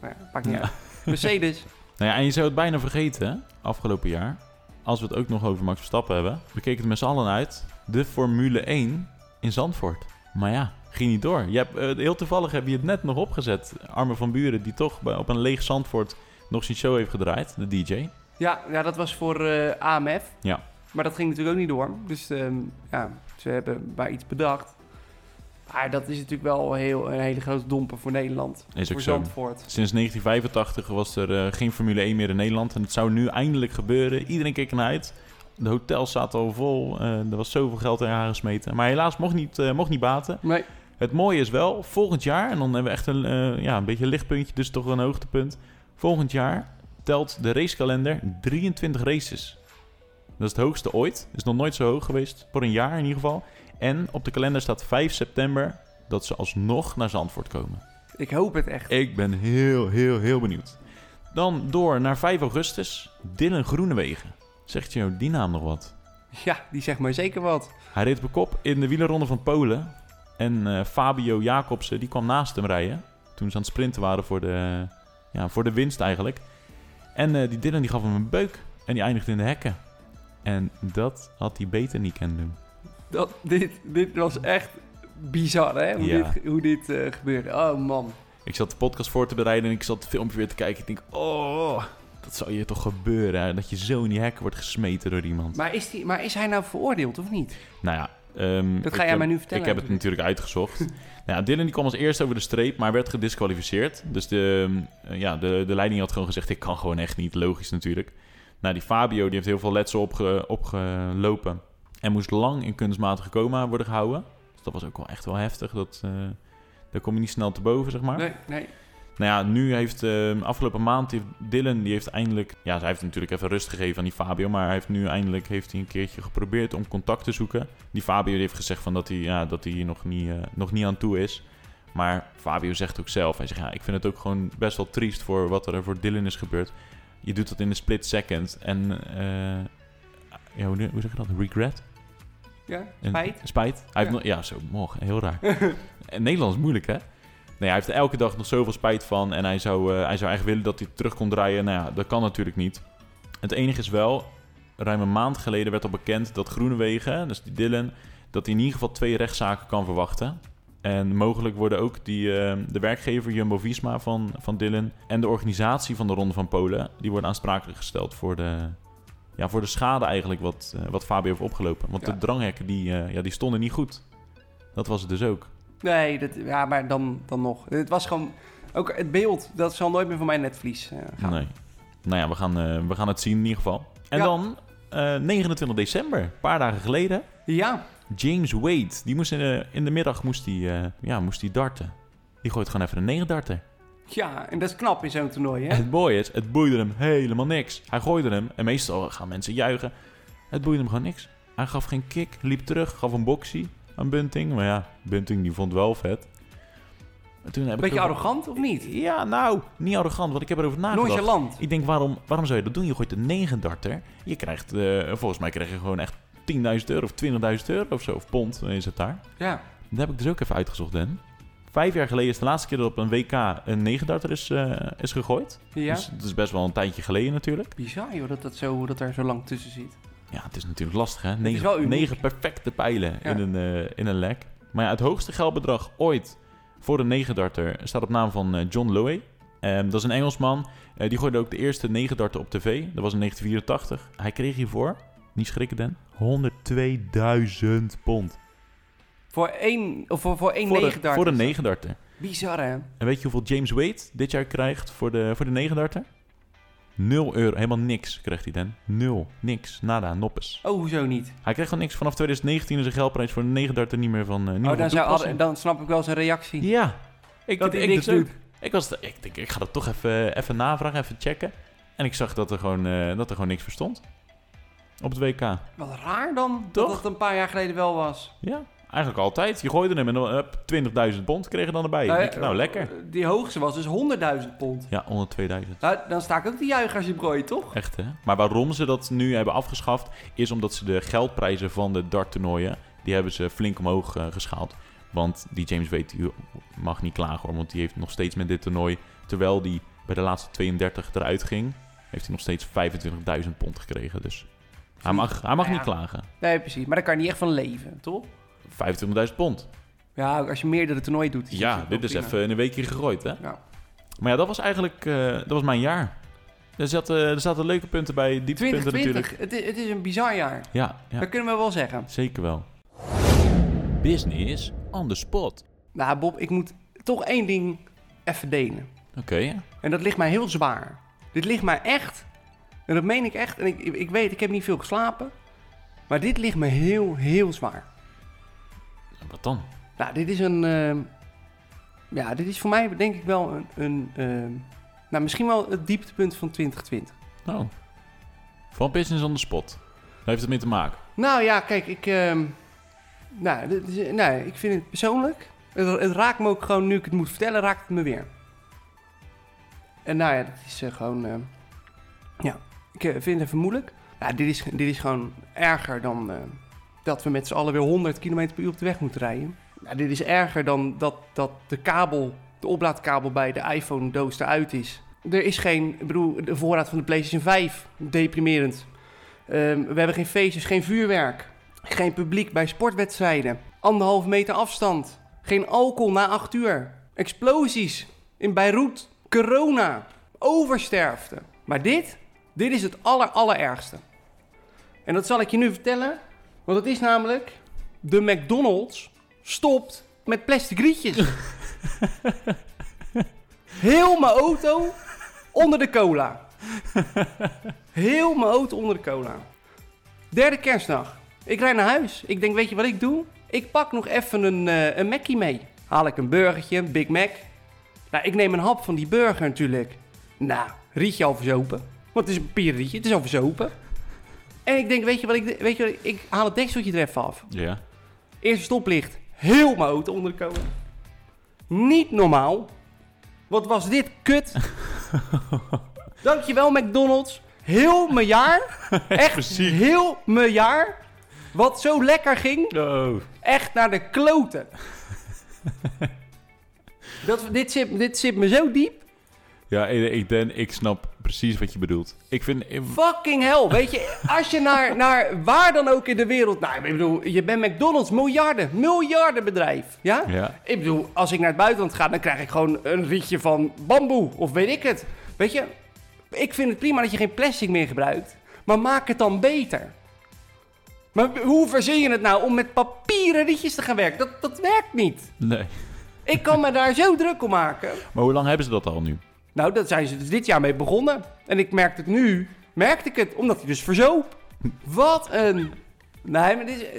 [SPEAKER 1] Maar ja, pak niet
[SPEAKER 2] Ja.
[SPEAKER 1] uit. Mercedes.
[SPEAKER 2] Nou ja, en je zou het bijna vergeten, hè, afgelopen jaar. Als we het ook nog over Max Verstappen hebben. We keken er met z'n allen uit. De Formule 1 in Zandvoort. Maar ja, ging niet door. Je hebt, eh, heel toevallig heb je het net nog opgezet. Arme van Buren, die toch bij- op een leeg Zandvoort nog zijn show heeft gedraaid. De DJ.
[SPEAKER 1] Ja, ja, dat was voor eh, AMF.
[SPEAKER 2] Ja.
[SPEAKER 1] Maar dat ging natuurlijk ook niet door. Dus ehm, ja, ze hebben maar iets bedacht. Maar dat is natuurlijk wel heel, een hele grote domper voor Nederland.
[SPEAKER 2] Is ook
[SPEAKER 1] voor
[SPEAKER 2] zo.
[SPEAKER 1] Zandvoort.
[SPEAKER 2] Sinds 1985 was er eh, geen Formule 1 meer in Nederland. En het zou nu eindelijk gebeuren. Iedereen keek ernaar uit. De hotels zaten al vol. eh, er was zoveel geld in haar gesmeten. Maar helaas mocht niet, eh, mocht niet baten.
[SPEAKER 1] Nee,
[SPEAKER 2] Het mooie is wel, volgend jaar... en dan hebben we echt een, eh, ja, een beetje een lichtpuntje, dus toch wel een hoogtepunt. Volgend jaar telt de racekalender 23 races. Dat is het hoogste ooit. Is nog nooit zo hoog geweest. Voor een jaar in ieder geval. En op de kalender staat 5 september... dat ze alsnog naar Zandvoort komen.
[SPEAKER 1] ik hoop het echt.
[SPEAKER 2] Ik ben heel, heel, heel benieuwd. Dan door naar 5 augustus. Dylan Groenewegen. Zegt jou die naam nog wat?
[SPEAKER 1] Ja, die zegt maar zeker wat.
[SPEAKER 2] Hij reed op kop in de wielerronde van Polen. En eh, Fabio Jacobsen die kwam naast hem rijden. Toen ze aan het sprinten waren voor de, ja, voor de winst eigenlijk. En eh, die Dylan die gaf hem een beuk. En die eindigde in de hekken. En dat had hij beter niet kunnen doen.
[SPEAKER 1] Dat, dit, dit was echt bizar, hè? Hoe
[SPEAKER 2] Ja.
[SPEAKER 1] dit, hoe dit eh, gebeurde. Oh man.
[SPEAKER 2] Ik zat de podcast voor te bereiden en ik zat het filmpje weer te kijken. Ik denk, oh, dat zou je toch gebeuren. Hè? Dat je zo in die hekken wordt gesmeten door iemand.
[SPEAKER 1] Maar is, die, maar is hij nou veroordeeld of niet?
[SPEAKER 2] Nou ja, Ehm,
[SPEAKER 1] Dat
[SPEAKER 2] ik
[SPEAKER 1] ga jij
[SPEAKER 2] heb-
[SPEAKER 1] mij nu vertellen.
[SPEAKER 2] Ik heb het natuurlijk uitgezocht. nou, ja, Dylan die kwam als eerste over de streep, maar werd gedisqualificeerd. Dus de, eh, ja, de, de leiding had gewoon gezegd, ik kan gewoon echt niet. Logisch natuurlijk. Nou, die Fabio die heeft heel veel letsel opge, opgelopen. En moest lang in kunstmatige coma worden gehouden. Dus dat was ook wel echt wel heftig. Dat, eh, daar kom je niet snel te boven, zeg maar.
[SPEAKER 1] Nee, nee.
[SPEAKER 2] Nou ja, nu heeft eh, afgelopen maand heeft Dylan die heeft eindelijk. Ja, hij heeft natuurlijk even rust gegeven aan die Fabio. Maar hij heeft nu eindelijk heeft hij een keertje geprobeerd om contact te zoeken. Die Fabio die heeft gezegd van dat hij, ja, dat hij hier nog niet, eh, nog niet aan toe is. Maar Fabio zegt ook zelf. Hij zegt ja, ik vind het ook gewoon best wel triest voor wat er voor Dylan is gebeurd. Je doet dat in een split second. En eh, ja, hoe, hoe zeg je dat? Regret?
[SPEAKER 1] Ja,
[SPEAKER 2] En-
[SPEAKER 1] spijt.
[SPEAKER 2] Spijt. Hij heeft
[SPEAKER 1] Ja.
[SPEAKER 2] nog, ja, zo, mocht. Heel raar. en Nederlands is moeilijk, hè? Nee, hij heeft er elke dag nog zoveel spijt van. En hij zou, eh, hij zou echt willen dat hij terug kon draaien. Nou ja, dat kan natuurlijk niet. Het enige is wel, ruim een maand geleden werd al bekend dat Groenewegen, dus die Dylan, dat hij in ieder geval twee rechtszaken kan verwachten. En mogelijk worden ook die, eh, de werkgever Jumbo-Visma van, van Dylan en de organisatie van de Ronde van Polen, die worden aansprakelijk gesteld voor de, ja, voor de schade eigenlijk wat, eh, wat Fabio heeft opgelopen. Want
[SPEAKER 1] Ja.
[SPEAKER 2] de dranghekken die, eh, ja, die stonden niet goed. Dat was het dus ook.
[SPEAKER 1] Nee, dat, ja, maar dan, dan nog. Het was gewoon... Ook het beeld, dat zal nooit meer van mijn netvlies eh, gaan.
[SPEAKER 2] Nee. Nou ja, we gaan, eh, we gaan het zien in ieder geval. En
[SPEAKER 1] Ja.
[SPEAKER 2] dan, eh, 29 december, een paar dagen geleden,
[SPEAKER 1] Ja,
[SPEAKER 2] James Wade. Die moest in de, in de middag moest die, eh, ja, moest die darten. Die gooit gewoon even een 9 darter.
[SPEAKER 1] ja, en dat is knap in zo'n toernooi, hè?
[SPEAKER 2] Het mooie is, het boeide hem helemaal niks. Hij gooide hem en meestal gaan mensen juichen. Het boeide hem gewoon niks. Hij gaf geen kick, liep terug, gaf een boxie aan Bunting. Maar ja, Bunting die vond het wel vet. En toen heb
[SPEAKER 1] Beetje
[SPEAKER 2] ik erover-
[SPEAKER 1] arrogant, of niet?
[SPEAKER 2] Ja, nou, niet arrogant, want ik heb erover nagedacht.
[SPEAKER 1] Nonchalant.
[SPEAKER 2] Ik denk, waarom, waarom zou je dat doen? Je gooit een 9 darter. Je krijgt, eh, volgens mij krijg je gewoon echt 10.000 euro of 20.000 euro of zo. Of pond eh, is het daar.
[SPEAKER 1] Ja.
[SPEAKER 2] Dat heb ik dus ook even uitgezocht, Dan. Vijf jaar geleden is de laatste keer dat op een WK een 9 darter is, eh, is gegooid.
[SPEAKER 1] Ja.
[SPEAKER 2] Dus dat is best wel een tijdje geleden natuurlijk.
[SPEAKER 1] Bizar, joh, dat, dat, zo, dat daar zo lang tussen zit.
[SPEAKER 2] Ja, het is natuurlijk lastig, hè?
[SPEAKER 1] is wel
[SPEAKER 2] Negen,
[SPEAKER 1] uniek.
[SPEAKER 2] negen perfecte pijlen
[SPEAKER 1] Ja.
[SPEAKER 2] in, een, eh, in een lek. Maar ja, het hoogste geldbedrag ooit voor een negendarter staat op naam van eh, John Lowe. Ehm, dat is een Engelsman. Eh, die gooide ook de eerste negendarter op tv. Dat was in 1984. Hij kreeg hiervoor, niet schrikken Dan, 102.000 pond.
[SPEAKER 1] Voor één, of voor, voor één
[SPEAKER 2] voor, de,
[SPEAKER 1] negendarter
[SPEAKER 2] voor een
[SPEAKER 1] is dat.
[SPEAKER 2] negendarter.
[SPEAKER 1] Bizar, hè?
[SPEAKER 2] En weet je hoeveel James Wade dit jaar krijgt voor de, voor de negendarter? 0 euro. Helemaal niks krijgt hij dan. Nul. Niks. Nada. Noppes.
[SPEAKER 1] Oh, hoezo niet?
[SPEAKER 2] Hij kreeg gewoon niks. Vanaf 2019 is zijn geldprijs voor 39 niet meer van eh niet meer
[SPEAKER 1] Oh,
[SPEAKER 2] van
[SPEAKER 1] dan, zou,
[SPEAKER 2] toepassing.
[SPEAKER 1] hadden- dan snap ik wel zijn reactie.
[SPEAKER 2] Ja. Ik,
[SPEAKER 1] Dat hij
[SPEAKER 2] ik,
[SPEAKER 1] niks
[SPEAKER 2] dus ook.
[SPEAKER 1] doet.
[SPEAKER 2] Ik, was, ik denk, ik ga dat toch even, eh, even navragen, even checken. En ik zag dat er gewoon, eh, dat er gewoon niks verstond. Op het WK.
[SPEAKER 1] Wat raar dan,
[SPEAKER 2] Toch?
[SPEAKER 1] dat dat een paar jaar geleden wel was.
[SPEAKER 2] Ja, eigenlijk altijd. Je gooide hem en dan hup, 20.000 pond kreeg je dan erbij.
[SPEAKER 1] Nou,
[SPEAKER 2] Nou,
[SPEAKER 1] eh,
[SPEAKER 2] nou lekker.
[SPEAKER 1] Die hoogste was dus 100.000 pond.
[SPEAKER 2] Ja, 102.000.
[SPEAKER 1] Nou, dan sta ik ook te juichen als je brooi, toch?
[SPEAKER 2] Echt, hè? Maar waarom ze dat nu hebben afgeschaft, is omdat ze de geldprijzen van de darttoernooien, die hebben ze flink omhoog eh, geschaald. Want die James Wade die mag niet klagen hoor, want die heeft nog steeds met dit toernooi, terwijl die bij de laatste 32 eruit ging, heeft hij nog steeds 25.000 pond gekregen. Dus hij mag, hij mag
[SPEAKER 1] Nou
[SPEAKER 2] niet
[SPEAKER 1] ja.
[SPEAKER 2] klagen.
[SPEAKER 1] Nee, precies. Maar daar kan je niet echt van leven, toch?
[SPEAKER 2] 25.000 pond.
[SPEAKER 1] Ja, ook als je meerdere toernooien doet. is
[SPEAKER 2] Ja,
[SPEAKER 1] het wel
[SPEAKER 2] dit is
[SPEAKER 1] prima.
[SPEAKER 2] even in een weekje gegooid, hè?
[SPEAKER 1] Ja.
[SPEAKER 2] Maar ja, dat was eigenlijk eh, dat was mijn jaar. Er zaten, er zaten leuke punten bij, dieptepunten natuurlijk.
[SPEAKER 1] 2020, het is, het is een bizar jaar.
[SPEAKER 2] Ja, ja.
[SPEAKER 1] Dat kunnen we wel zeggen.
[SPEAKER 2] Zeker wel. Business on the spot.
[SPEAKER 1] Nou, Bob, ik moet toch één ding even delen.
[SPEAKER 2] Oké.
[SPEAKER 1] En dat ligt mij heel zwaar. Dit ligt mij echt, en dat meen ik echt, en ik, ik weet, ik heb niet veel geslapen. Maar dit ligt me heel, heel zwaar.
[SPEAKER 2] Wat dan?
[SPEAKER 1] Nou, dit is een. ehm, ja, dit is voor mij denk ik wel een. een ehm, nou, misschien wel het dieptepunt van 2020.
[SPEAKER 2] Nou. Van business on the spot. Daar heeft het mee te maken.
[SPEAKER 1] Nou ja, kijk, ik. ehm, nou, dit is- nou, ik vind het persoonlijk. Het, het raakt me ook gewoon nu ik het moet vertellen, raakt het me weer. En nou ja, dat is eh, gewoon. ehm, ja, ik eh, vind het even moeilijk. Ja, dit, is, dit is gewoon erger dan eh, dat we met z'n allen weer 100 km per uur op de weg moeten rijden. Ja, dit is erger dan dat, dat de kabel, de oplaadkabel bij de iPhone-doos eruit is. Er is geen, ik bedoel, de voorraad van de PlayStation 5, deprimerend. Ehm, we hebben geen feestjes, geen vuurwerk. Geen publiek bij sportwedstrijden. Anderhalf meter afstand. Geen alcohol na acht uur. Explosies in Beirut. Corona. Oversterfte. Maar dit, dit is het aller, allerergste. En dat zal ik je nu vertellen. Want het is namelijk de McDonald's stopt met plastic rietjes. Heel mijn auto onder de cola. Heel mijn auto onder de cola. Derde kerstdag. Ik rijd naar huis. Ik denk, weet je wat ik doe? Ik pak nog even een, eh een Mackie mee. Haal ik een burgertje, een Big Mac. Nou, ik neem een hap van die burger natuurlijk. Nou, rietje al verzopen. Want het is een papieren rietje, het is al verzopen. En ik denk, weet je wat ik... Weet je wat ik, ik haal het dekseltje er even af.
[SPEAKER 2] Ja.
[SPEAKER 1] Eerste stoplicht. Heel mijn auto onder de cola. Niet normaal. Wat was dit kut. Dankjewel McDonald's. Heel mijn jaar. Echt
[SPEAKER 2] Precies.
[SPEAKER 1] heel mijn jaar. Wat zo lekker ging.
[SPEAKER 2] Oh.
[SPEAKER 1] Echt naar de kloten. Dat, dit, zit, dit zit me zo diep.
[SPEAKER 2] Ja, ik, ik, Den, ik snap precies wat je bedoelt. Ik vind... ik-
[SPEAKER 1] Fucking hell, weet je, als je naar, naar waar dan ook in de wereld... Nou, ik bedoel, je bent McDonald's, miljarden, miljarden bedrijf, ja?
[SPEAKER 2] ja.
[SPEAKER 1] Ik bedoel, als ik naar het buitenland ga, dan krijg ik gewoon een rietje van bamboe, of weet ik het. Weet je, ik vind het prima dat je geen plastic meer gebruikt, maar maak het dan beter. Maar hoe verzin je het nou om met papieren rietjes te gaan werken? Dat, dat werkt niet.
[SPEAKER 2] Nee.
[SPEAKER 1] Ik kan me daar zo druk om maken.
[SPEAKER 2] Maar hoe lang hebben ze dat al nu?
[SPEAKER 1] Nou, daar zijn ze dus dit jaar mee begonnen. En ik merkte het nu, merkte ik het, omdat hij dus verzoop. Wat een... Nee, maar dit is... eh,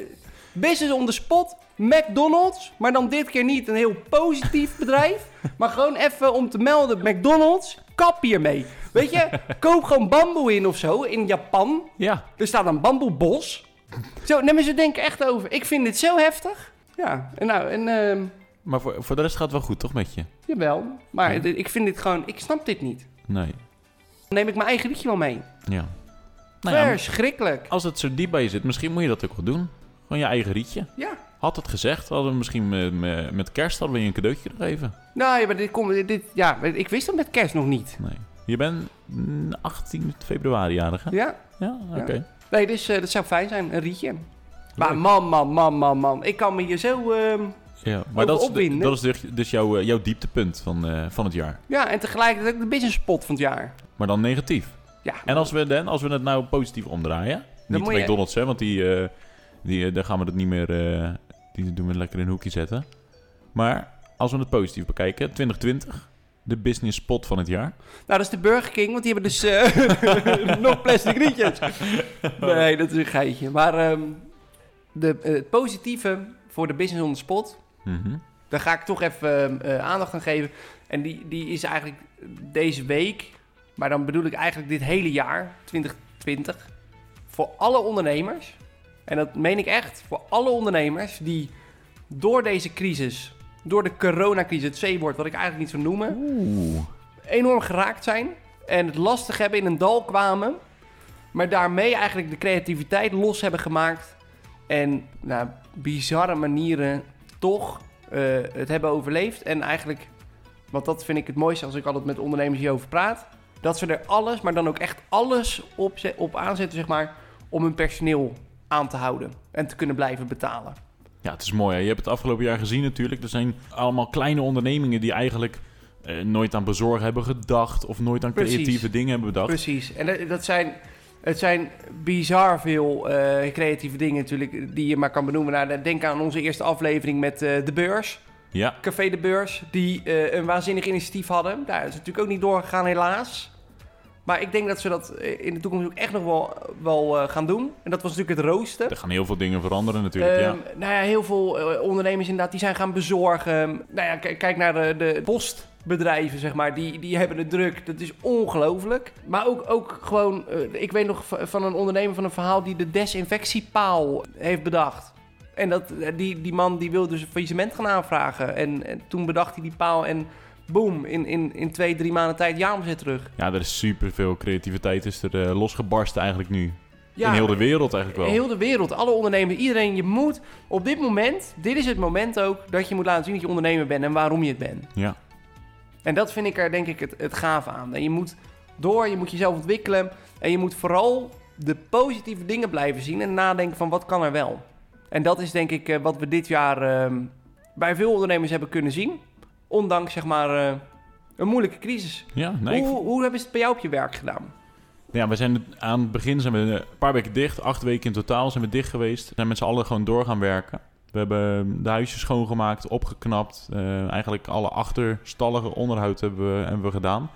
[SPEAKER 1] Business on the spot, McDonald's. Maar dan dit keer niet een heel positief bedrijf. Maar gewoon even om te melden, McDonald's, kap hiermee. Weet je, koop gewoon bamboe in of zo, in Japan.
[SPEAKER 2] Ja.
[SPEAKER 1] Er staat een bamboebos. Zo, nee, maar ze denken echt over. Ik vind dit zo heftig. Ja, en nou, en... ehm,
[SPEAKER 2] Maar voor, voor de rest gaat het wel goed, toch met je?
[SPEAKER 1] jawel, maar
[SPEAKER 2] Ja.
[SPEAKER 1] dit- ik vind dit gewoon... Ik snap dit niet.
[SPEAKER 2] Nee.
[SPEAKER 1] Dan neem ik mijn eigen liedje wel mee.
[SPEAKER 2] Ja. Nou ja,
[SPEAKER 1] Verschrikkelijk.
[SPEAKER 2] als het zo diep bij je zit, misschien moet je dat ook wel doen. Gewoon je eigen rietje.
[SPEAKER 1] Ja.
[SPEAKER 2] Had het gezegd, hadden we misschien met, met, met kerst hadden we je een cadeautje gegeven.
[SPEAKER 1] Nou, ja, maar dit komt. Dit, ja, ik wist dat met kerst nog niet.
[SPEAKER 2] Nee. Je bent mm, 18 februari jarig, hè?
[SPEAKER 1] Ja.
[SPEAKER 2] Ja, oké.
[SPEAKER 1] Nee, dus eh, dat zou fijn zijn. Een rietje. Maar
[SPEAKER 2] Leuk.
[SPEAKER 1] man, man, man, man, man. Ik kan me hier zo... ehm,
[SPEAKER 2] Ja, maar
[SPEAKER 1] Over
[SPEAKER 2] dat is,
[SPEAKER 1] opwinden.
[SPEAKER 2] dat is dus, dus jouw, eh, jouw dieptepunt van, eh, van het jaar.
[SPEAKER 1] Ja, en tegelijkertijd ook de business spot van het jaar.
[SPEAKER 2] Maar dan negatief.
[SPEAKER 1] Ja.
[SPEAKER 2] En als we, dan, als we het nou positief omdraaien.
[SPEAKER 1] moet
[SPEAKER 2] niet
[SPEAKER 1] je-
[SPEAKER 2] McDonald's, hè, want die, eh, die, eh, daar gaan we dat niet meer. eh, die doen we lekker in een hoekje zetten. Maar als we het positief bekijken, 2020, de business spot van het jaar.
[SPEAKER 1] Nou, dat is de Burger King, want die hebben dus eh, nog plastic rietjes. Nee, dat is een geitje. Maar ehm, de, eh, het positieve voor de business on the spot
[SPEAKER 2] Mhm.
[SPEAKER 1] Daar ga ik toch even eh, eh, aandacht aan geven. En die, die is eigenlijk deze week, maar dan bedoel ik eigenlijk dit hele jaar, 2020, voor alle ondernemers. En dat meen ik echt, voor alle ondernemers die door deze crisis, door de coronacrisis, het C-woord, wat ik eigenlijk niet zou noemen,
[SPEAKER 2] Oeh.
[SPEAKER 1] enorm geraakt zijn en het lastig hebben in een dal kwamen, maar daarmee eigenlijk de creativiteit los hebben gemaakt en nou, bizarre manieren toch eh, het hebben overleefd en eigenlijk, want dat vind ik het mooiste als ik altijd met ondernemers hierover praat, dat ze er alles, maar dan ook echt alles op, ze- op aanzetten zeg maar, om hun personeel aan te houden en te kunnen blijven betalen.
[SPEAKER 2] Ja, het is mooi. Hè? Je hebt het afgelopen jaar gezien natuurlijk. Er zijn allemaal kleine ondernemingen die eigenlijk eh, nooit aan bezorgen hebben gedacht. Of nooit aan
[SPEAKER 1] Precies.
[SPEAKER 2] creatieve dingen hebben bedacht.
[SPEAKER 1] Precies. En dat, dat zijn, het zijn bizar veel eh, creatieve dingen natuurlijk die je maar kan benoemen. Nou, denk aan onze eerste aflevering met eh, de beurs,
[SPEAKER 2] Ja,
[SPEAKER 1] Café de Beurs, die eh, een waanzinnig initiatief hadden. Daar is het natuurlijk ook niet doorgegaan helaas. Maar ik denk dat ze dat eh, in de toekomst ook echt nog wel, wel eh, gaan doen. En dat was natuurlijk het roosten.
[SPEAKER 2] er gaan heel veel dingen veranderen natuurlijk. ja.
[SPEAKER 1] Ehm, Nou ja, heel veel eh, ondernemers inderdaad, die zijn gaan bezorgen. Nou ja, k- kijk naar de, de postbedrijven, zeg maar. Die, die hebben het druk. Dat is ongelooflijk. Maar ook, ook gewoon, eh, ik weet nog v- van een ondernemer van een verhaal die de desinfectiepaal heeft bedacht. En dat, eh, die, die man die wilde dus een faillissement gaan aanvragen. En, en toen bedacht hij die paal en boom, in, in, in twee, drie maanden tijd jaaromzet terug.
[SPEAKER 2] Ja, er is superveel creativiteit is er eh, losgebarsten eigenlijk nu.
[SPEAKER 1] Ja,
[SPEAKER 2] In heel de wereld eigenlijk wel.
[SPEAKER 1] Heel de wereld, alle ondernemers, iedereen. Je moet op dit moment, dit is het moment ook, dat je moet laten zien dat je ondernemer bent en waarom je het bent.
[SPEAKER 2] Ja,
[SPEAKER 1] En dat vind ik er denk ik het, het gaaf aan. En je moet door, je moet jezelf ontwikkelen en je moet vooral de positieve dingen blijven zien en nadenken van wat kan er wel. En dat is denk ik eh, wat we dit jaar ehm, bij veel ondernemers hebben kunnen zien. Ondanks zeg maar eh, een moeilijke crisis.
[SPEAKER 2] ja, nee, ik-
[SPEAKER 1] hoe, hoe hebben ze het bij jou op je werk gedaan?
[SPEAKER 2] ja we zijn het- aan het begin zijn we een paar weken dicht. Acht weken in totaal zijn we dicht geweest. Zijn met z'n allen gewoon door gaan werken. We hebben ehm, de huisjes schoongemaakt, opgeknapt. eh, eigenlijk alle achterstallige onderhoud hebben we, hebben we gedaan.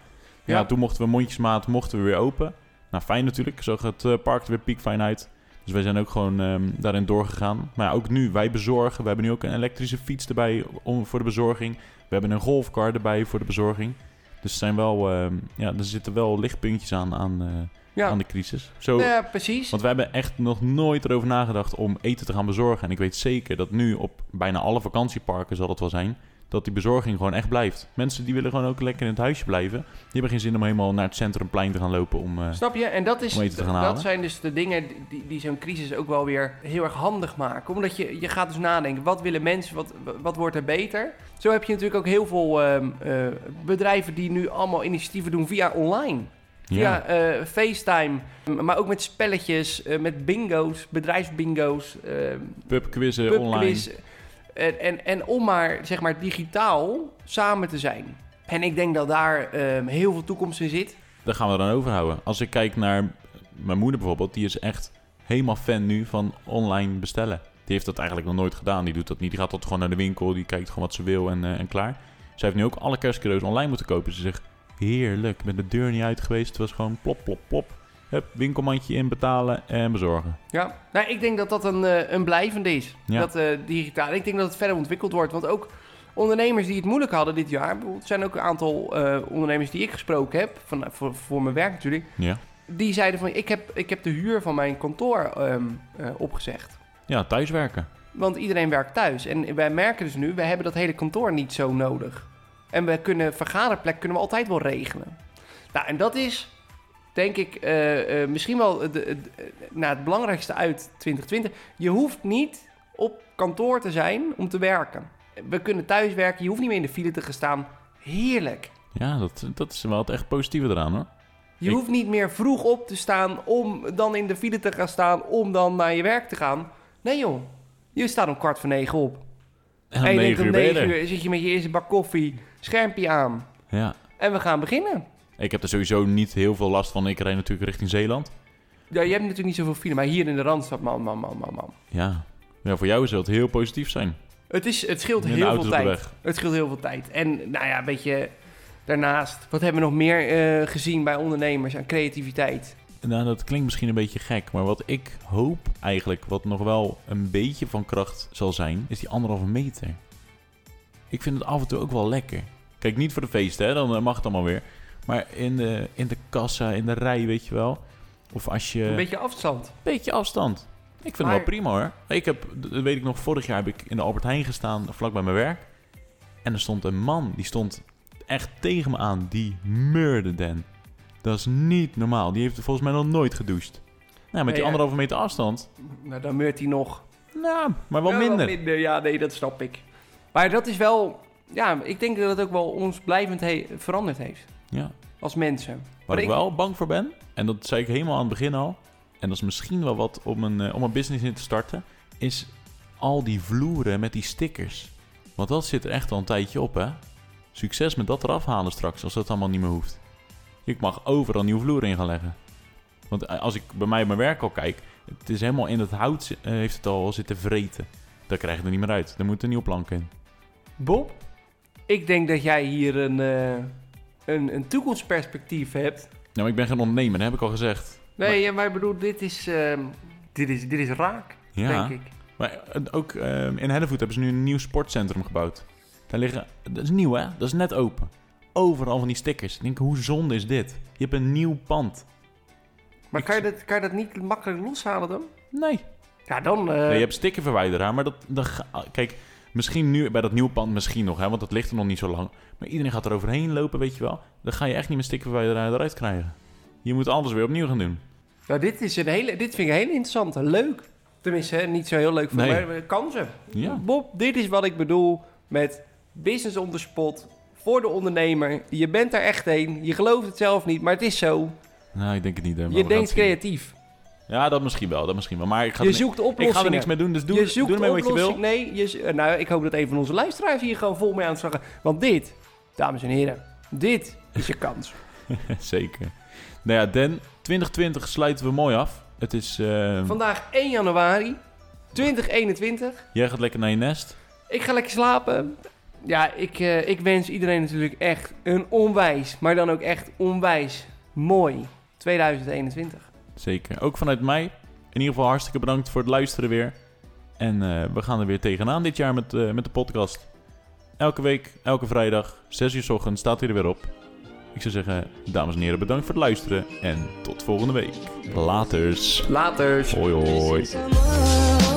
[SPEAKER 2] Ja.
[SPEAKER 1] Ja.
[SPEAKER 2] toen mochten we mondjesmaat mochten we weer open. Nou, fijn natuurlijk. Zo gaat het park er weer piekfijn uit. Dus wij zijn ook gewoon ehm, daarin doorgegaan. Maar ja, ook nu, wij bezorgen. We hebben nu ook een elektrische fiets erbij om, voor de bezorging. We hebben een golfkar erbij voor de bezorging. Dus er zijn wel, ehm, ja, er zitten wel lichtpuntjes aan, aan, eh,
[SPEAKER 1] Ja, Eh,
[SPEAKER 2] aan de crisis. Zo,
[SPEAKER 1] ja precies.
[SPEAKER 2] want we hebben echt nog nooit erover nagedacht om eten te gaan bezorgen. En ik weet zeker dat nu op bijna alle vakantieparken zal het wel zijn. Dat die bezorging gewoon echt blijft. Mensen die willen gewoon ook lekker in het huisje blijven. Die hebben geen zin om helemaal naar het centrumplein te gaan lopen om. eh,
[SPEAKER 1] Snap je? En dat, is,
[SPEAKER 2] Om eten te gaan
[SPEAKER 1] dat
[SPEAKER 2] halen.
[SPEAKER 1] zijn dus de dingen die, die zo'n crisis ook wel weer heel erg handig maken. Omdat je, je gaat dus nadenken, wat willen mensen, wat, wat wordt er beter? Zo heb je natuurlijk ook heel veel ehm, eh, bedrijven die nu allemaal initiatieven doen via online. Via eh, FaceTime, maar ook met spelletjes, eh, met bingo's, bedrijfsbingo's, ehm
[SPEAKER 2] pubquizzen online.
[SPEAKER 1] pubquiz. En, en, en om maar, zeg maar digitaal samen te zijn. En ik denk dat daar ehm, heel veel toekomst in zit.
[SPEAKER 2] Daar gaan we dan overhouden. Als ik kijk naar mijn moeder bijvoorbeeld, die is echt helemaal fan nu van online bestellen. Die heeft dat eigenlijk nog nooit gedaan. Die doet dat niet. Die gaat dat gewoon naar de winkel. Die kijkt gewoon wat ze wil en, eh, en klaar. Zij heeft nu ook alle kerstcadeaus online moeten kopen. Ze zegt, heerlijk. Ik ben de deur niet uit geweest. Het was gewoon plop, plop, plop. Hup, winkelmandje in, betalen en bezorgen.
[SPEAKER 1] Ja, nou, ik denk dat dat een, eh, een blijvende is.
[SPEAKER 2] Ja.
[SPEAKER 1] Dat eh, digitaal. Ik denk dat het verder ontwikkeld wordt. Want ook ondernemers die het moeilijk hadden dit jaar. Bijvoorbeeld zijn ook een aantal eh, ondernemers die ik gesproken heb. Van, voor, voor mijn werk natuurlijk.
[SPEAKER 2] Ja.
[SPEAKER 1] Die zeiden van ik heb, ik heb de huur van mijn kantoor ehm, eh, opgezegd.
[SPEAKER 2] Ja, thuiswerken.
[SPEAKER 1] Want iedereen werkt thuis. En wij merken dus nu, wij hebben dat hele kantoor niet zo nodig. En we kunnen vergaderplek kunnen we altijd wel regelen. Nou, en dat is, denk ik, eh, eh, misschien wel de, de- nou, het belangrijkste uit 2020. Je hoeft niet op kantoor te zijn om te werken. We kunnen thuis werken, je hoeft niet meer in de file te gaan staan. Heerlijk.
[SPEAKER 2] Ja, dat, dat is wel het echt positieve eraan hoor.
[SPEAKER 1] Je
[SPEAKER 2] Ik-
[SPEAKER 1] hoeft niet meer vroeg op te staan om dan in de file te gaan staan om dan naar je werk te gaan. Nee joh, je staat om kwart voor negen op.
[SPEAKER 2] En om
[SPEAKER 1] En je denkt
[SPEAKER 2] negen
[SPEAKER 1] om
[SPEAKER 2] uur ben je
[SPEAKER 1] 9
[SPEAKER 2] er.
[SPEAKER 1] uur zit je met je eerste bak koffie, schermpje aan.
[SPEAKER 2] Ja.
[SPEAKER 1] En we gaan beginnen.
[SPEAKER 2] Ik heb er sowieso niet heel veel last van. Ik rijd natuurlijk richting Zeeland.
[SPEAKER 1] Ja, je hebt natuurlijk niet zoveel file, maar hier in de Randstad, man, man, man, man, man.
[SPEAKER 2] Ja. ja, voor jou zou het heel positief zijn.
[SPEAKER 1] Het, is, het scheelt
[SPEAKER 2] Minder
[SPEAKER 1] heel
[SPEAKER 2] auto's
[SPEAKER 1] veel
[SPEAKER 2] op de
[SPEAKER 1] tijd.
[SPEAKER 2] weg.
[SPEAKER 1] Het scheelt heel veel tijd. En nou ja, weet je, daarnaast, wat hebben we nog meer eh, gezien bij ondernemers aan creativiteit?
[SPEAKER 2] Nou, dat klinkt misschien een beetje gek, maar wat ik hoop eigenlijk, wat nog wel een beetje van kracht zal zijn, is die anderhalve meter. Ik vind het af en toe ook wel lekker. Kijk, niet voor de feesten, hè, dan eh, mag het allemaal weer. Maar in de, in de kassa, in de rij, weet je wel. Of als je...
[SPEAKER 1] Een beetje afstand.
[SPEAKER 2] beetje afstand. Ik vind
[SPEAKER 1] Maar-
[SPEAKER 2] het wel prima hoor. Ik heb, dat weet ik nog, vorig jaar heb ik in de Albert Heijn gestaan, vlak bij mijn werk. En er stond een man, die stond echt tegen me aan, die murde den. Dat is niet normaal. Die heeft volgens mij nog nooit gedoucht. Nou, met
[SPEAKER 1] Nee,
[SPEAKER 2] die
[SPEAKER 1] ja.
[SPEAKER 2] anderhalve meter afstand.
[SPEAKER 1] Nou, dan meurt hij nog.
[SPEAKER 2] Nou, maar wel
[SPEAKER 1] Ja,
[SPEAKER 2] minder.
[SPEAKER 1] Ja, nee, dat snap ik. Maar dat is wel, ja, ik denk dat het ook wel ons blijvend he- veranderd heeft.
[SPEAKER 2] Ja.
[SPEAKER 1] Als mensen.
[SPEAKER 2] Waar
[SPEAKER 1] Maar
[SPEAKER 2] ik
[SPEAKER 1] ik-
[SPEAKER 2] wel bang voor ben, en dat zei ik helemaal aan het begin al, en dat is misschien wel wat om een, eh, om een business in te starten, is al die vloeren met die stickers. Want dat zit er echt al een tijdje op, hè? Succes met dat eraf halen straks, als dat allemaal niet meer hoeft. Ik mag overal nieuw vloer in gaan leggen. Want eh, als ik bij mij op mijn werk al kijk, het is helemaal in het hout, zi- eh, heeft het al zitten vreten. Daar krijg je er niet meer uit. Er moet een nieuwe plank in.
[SPEAKER 1] Bob, ik denk dat jij hier een, eh, een, een toekomstperspectief hebt.
[SPEAKER 2] Nou, maar ik ben geen ondernemer, dat heb ik al gezegd.
[SPEAKER 1] Nee, maar, maar ik bedoel, dit is, ehm, dit is, dit is raak,
[SPEAKER 2] Ja.
[SPEAKER 1] denk ik.
[SPEAKER 2] Maar eh, ook ehm, in Hellevoet hebben ze nu een nieuw sportcentrum gebouwd. Daar liggen, dat is nieuw hè, dat is net open. Overal van die stickers. Ik denk, hoe zonde is dit? Je hebt een nieuw pand.
[SPEAKER 1] Maar
[SPEAKER 2] Ik
[SPEAKER 1] kan je, dat, kan je dat niet makkelijk loshalen dan?
[SPEAKER 2] Nee.
[SPEAKER 1] Ja, dan... eh,
[SPEAKER 2] nee je hebt stickerverwijderaar, maar dat, dat ga- ah, kijk, misschien nu bij dat nieuwe pand misschien nog hè, want dat ligt er nog niet zo lang. Maar iedereen gaat er overheen lopen, weet je wel. Dan ga je echt niet met stickerverwijderaar eruit krijgen. Je moet alles weer opnieuw gaan doen.
[SPEAKER 1] nou, dit, is een hele, dit vind ik heel interessant en leuk. Tenminste, hè, niet zo heel leuk voor
[SPEAKER 2] Nee.
[SPEAKER 1] mij, maar kansen.
[SPEAKER 2] Ja.
[SPEAKER 1] Bob, dit is wat ik bedoel met business on the spot, voor de ondernemer. Je bent er echt heen, je gelooft het zelf niet, maar het is zo.
[SPEAKER 2] Nou, ik denk het niet. Hè, maar
[SPEAKER 1] je
[SPEAKER 2] we gaan
[SPEAKER 1] denkt
[SPEAKER 2] het zien.
[SPEAKER 1] creatief.
[SPEAKER 2] Ja, dat misschien wel, dat misschien wel. Maar ik ga,
[SPEAKER 1] Je
[SPEAKER 2] er, ni-
[SPEAKER 1] zoekt oplossingen.
[SPEAKER 2] ik ga er niks mee doen, dus doe,
[SPEAKER 1] je zoekt
[SPEAKER 2] doe ermee wat je wil.
[SPEAKER 1] oplossing- Nee, je, z- eh, nou, ik hoop dat een van onze luisteraars hier gewoon vol mee aan het zagen. Want dit, dames en heren, dit is je kans.
[SPEAKER 2] Zeker. Nou ja, Den, 2020 sluiten we mooi af. Het is... eh,
[SPEAKER 1] Vandaag 1 januari. 2021.
[SPEAKER 2] Jij gaat lekker naar je nest.
[SPEAKER 1] Ik ga lekker slapen. Ja, ik, eh, ik wens iedereen natuurlijk echt een onwijs, maar dan ook echt onwijs mooi 2021.
[SPEAKER 2] Zeker. Ook vanuit mij. In ieder geval hartstikke bedankt voor het luisteren weer. En eh, we gaan er weer tegenaan dit jaar met, eh, met de podcast. Elke week, elke vrijdag, 6 uur 's ochtends staat hij er weer op. Ik zou zeggen, dames en heren, bedankt voor het luisteren. En tot volgende week. Laters.
[SPEAKER 1] Laters.
[SPEAKER 2] Hoi hoi.
[SPEAKER 3] Someone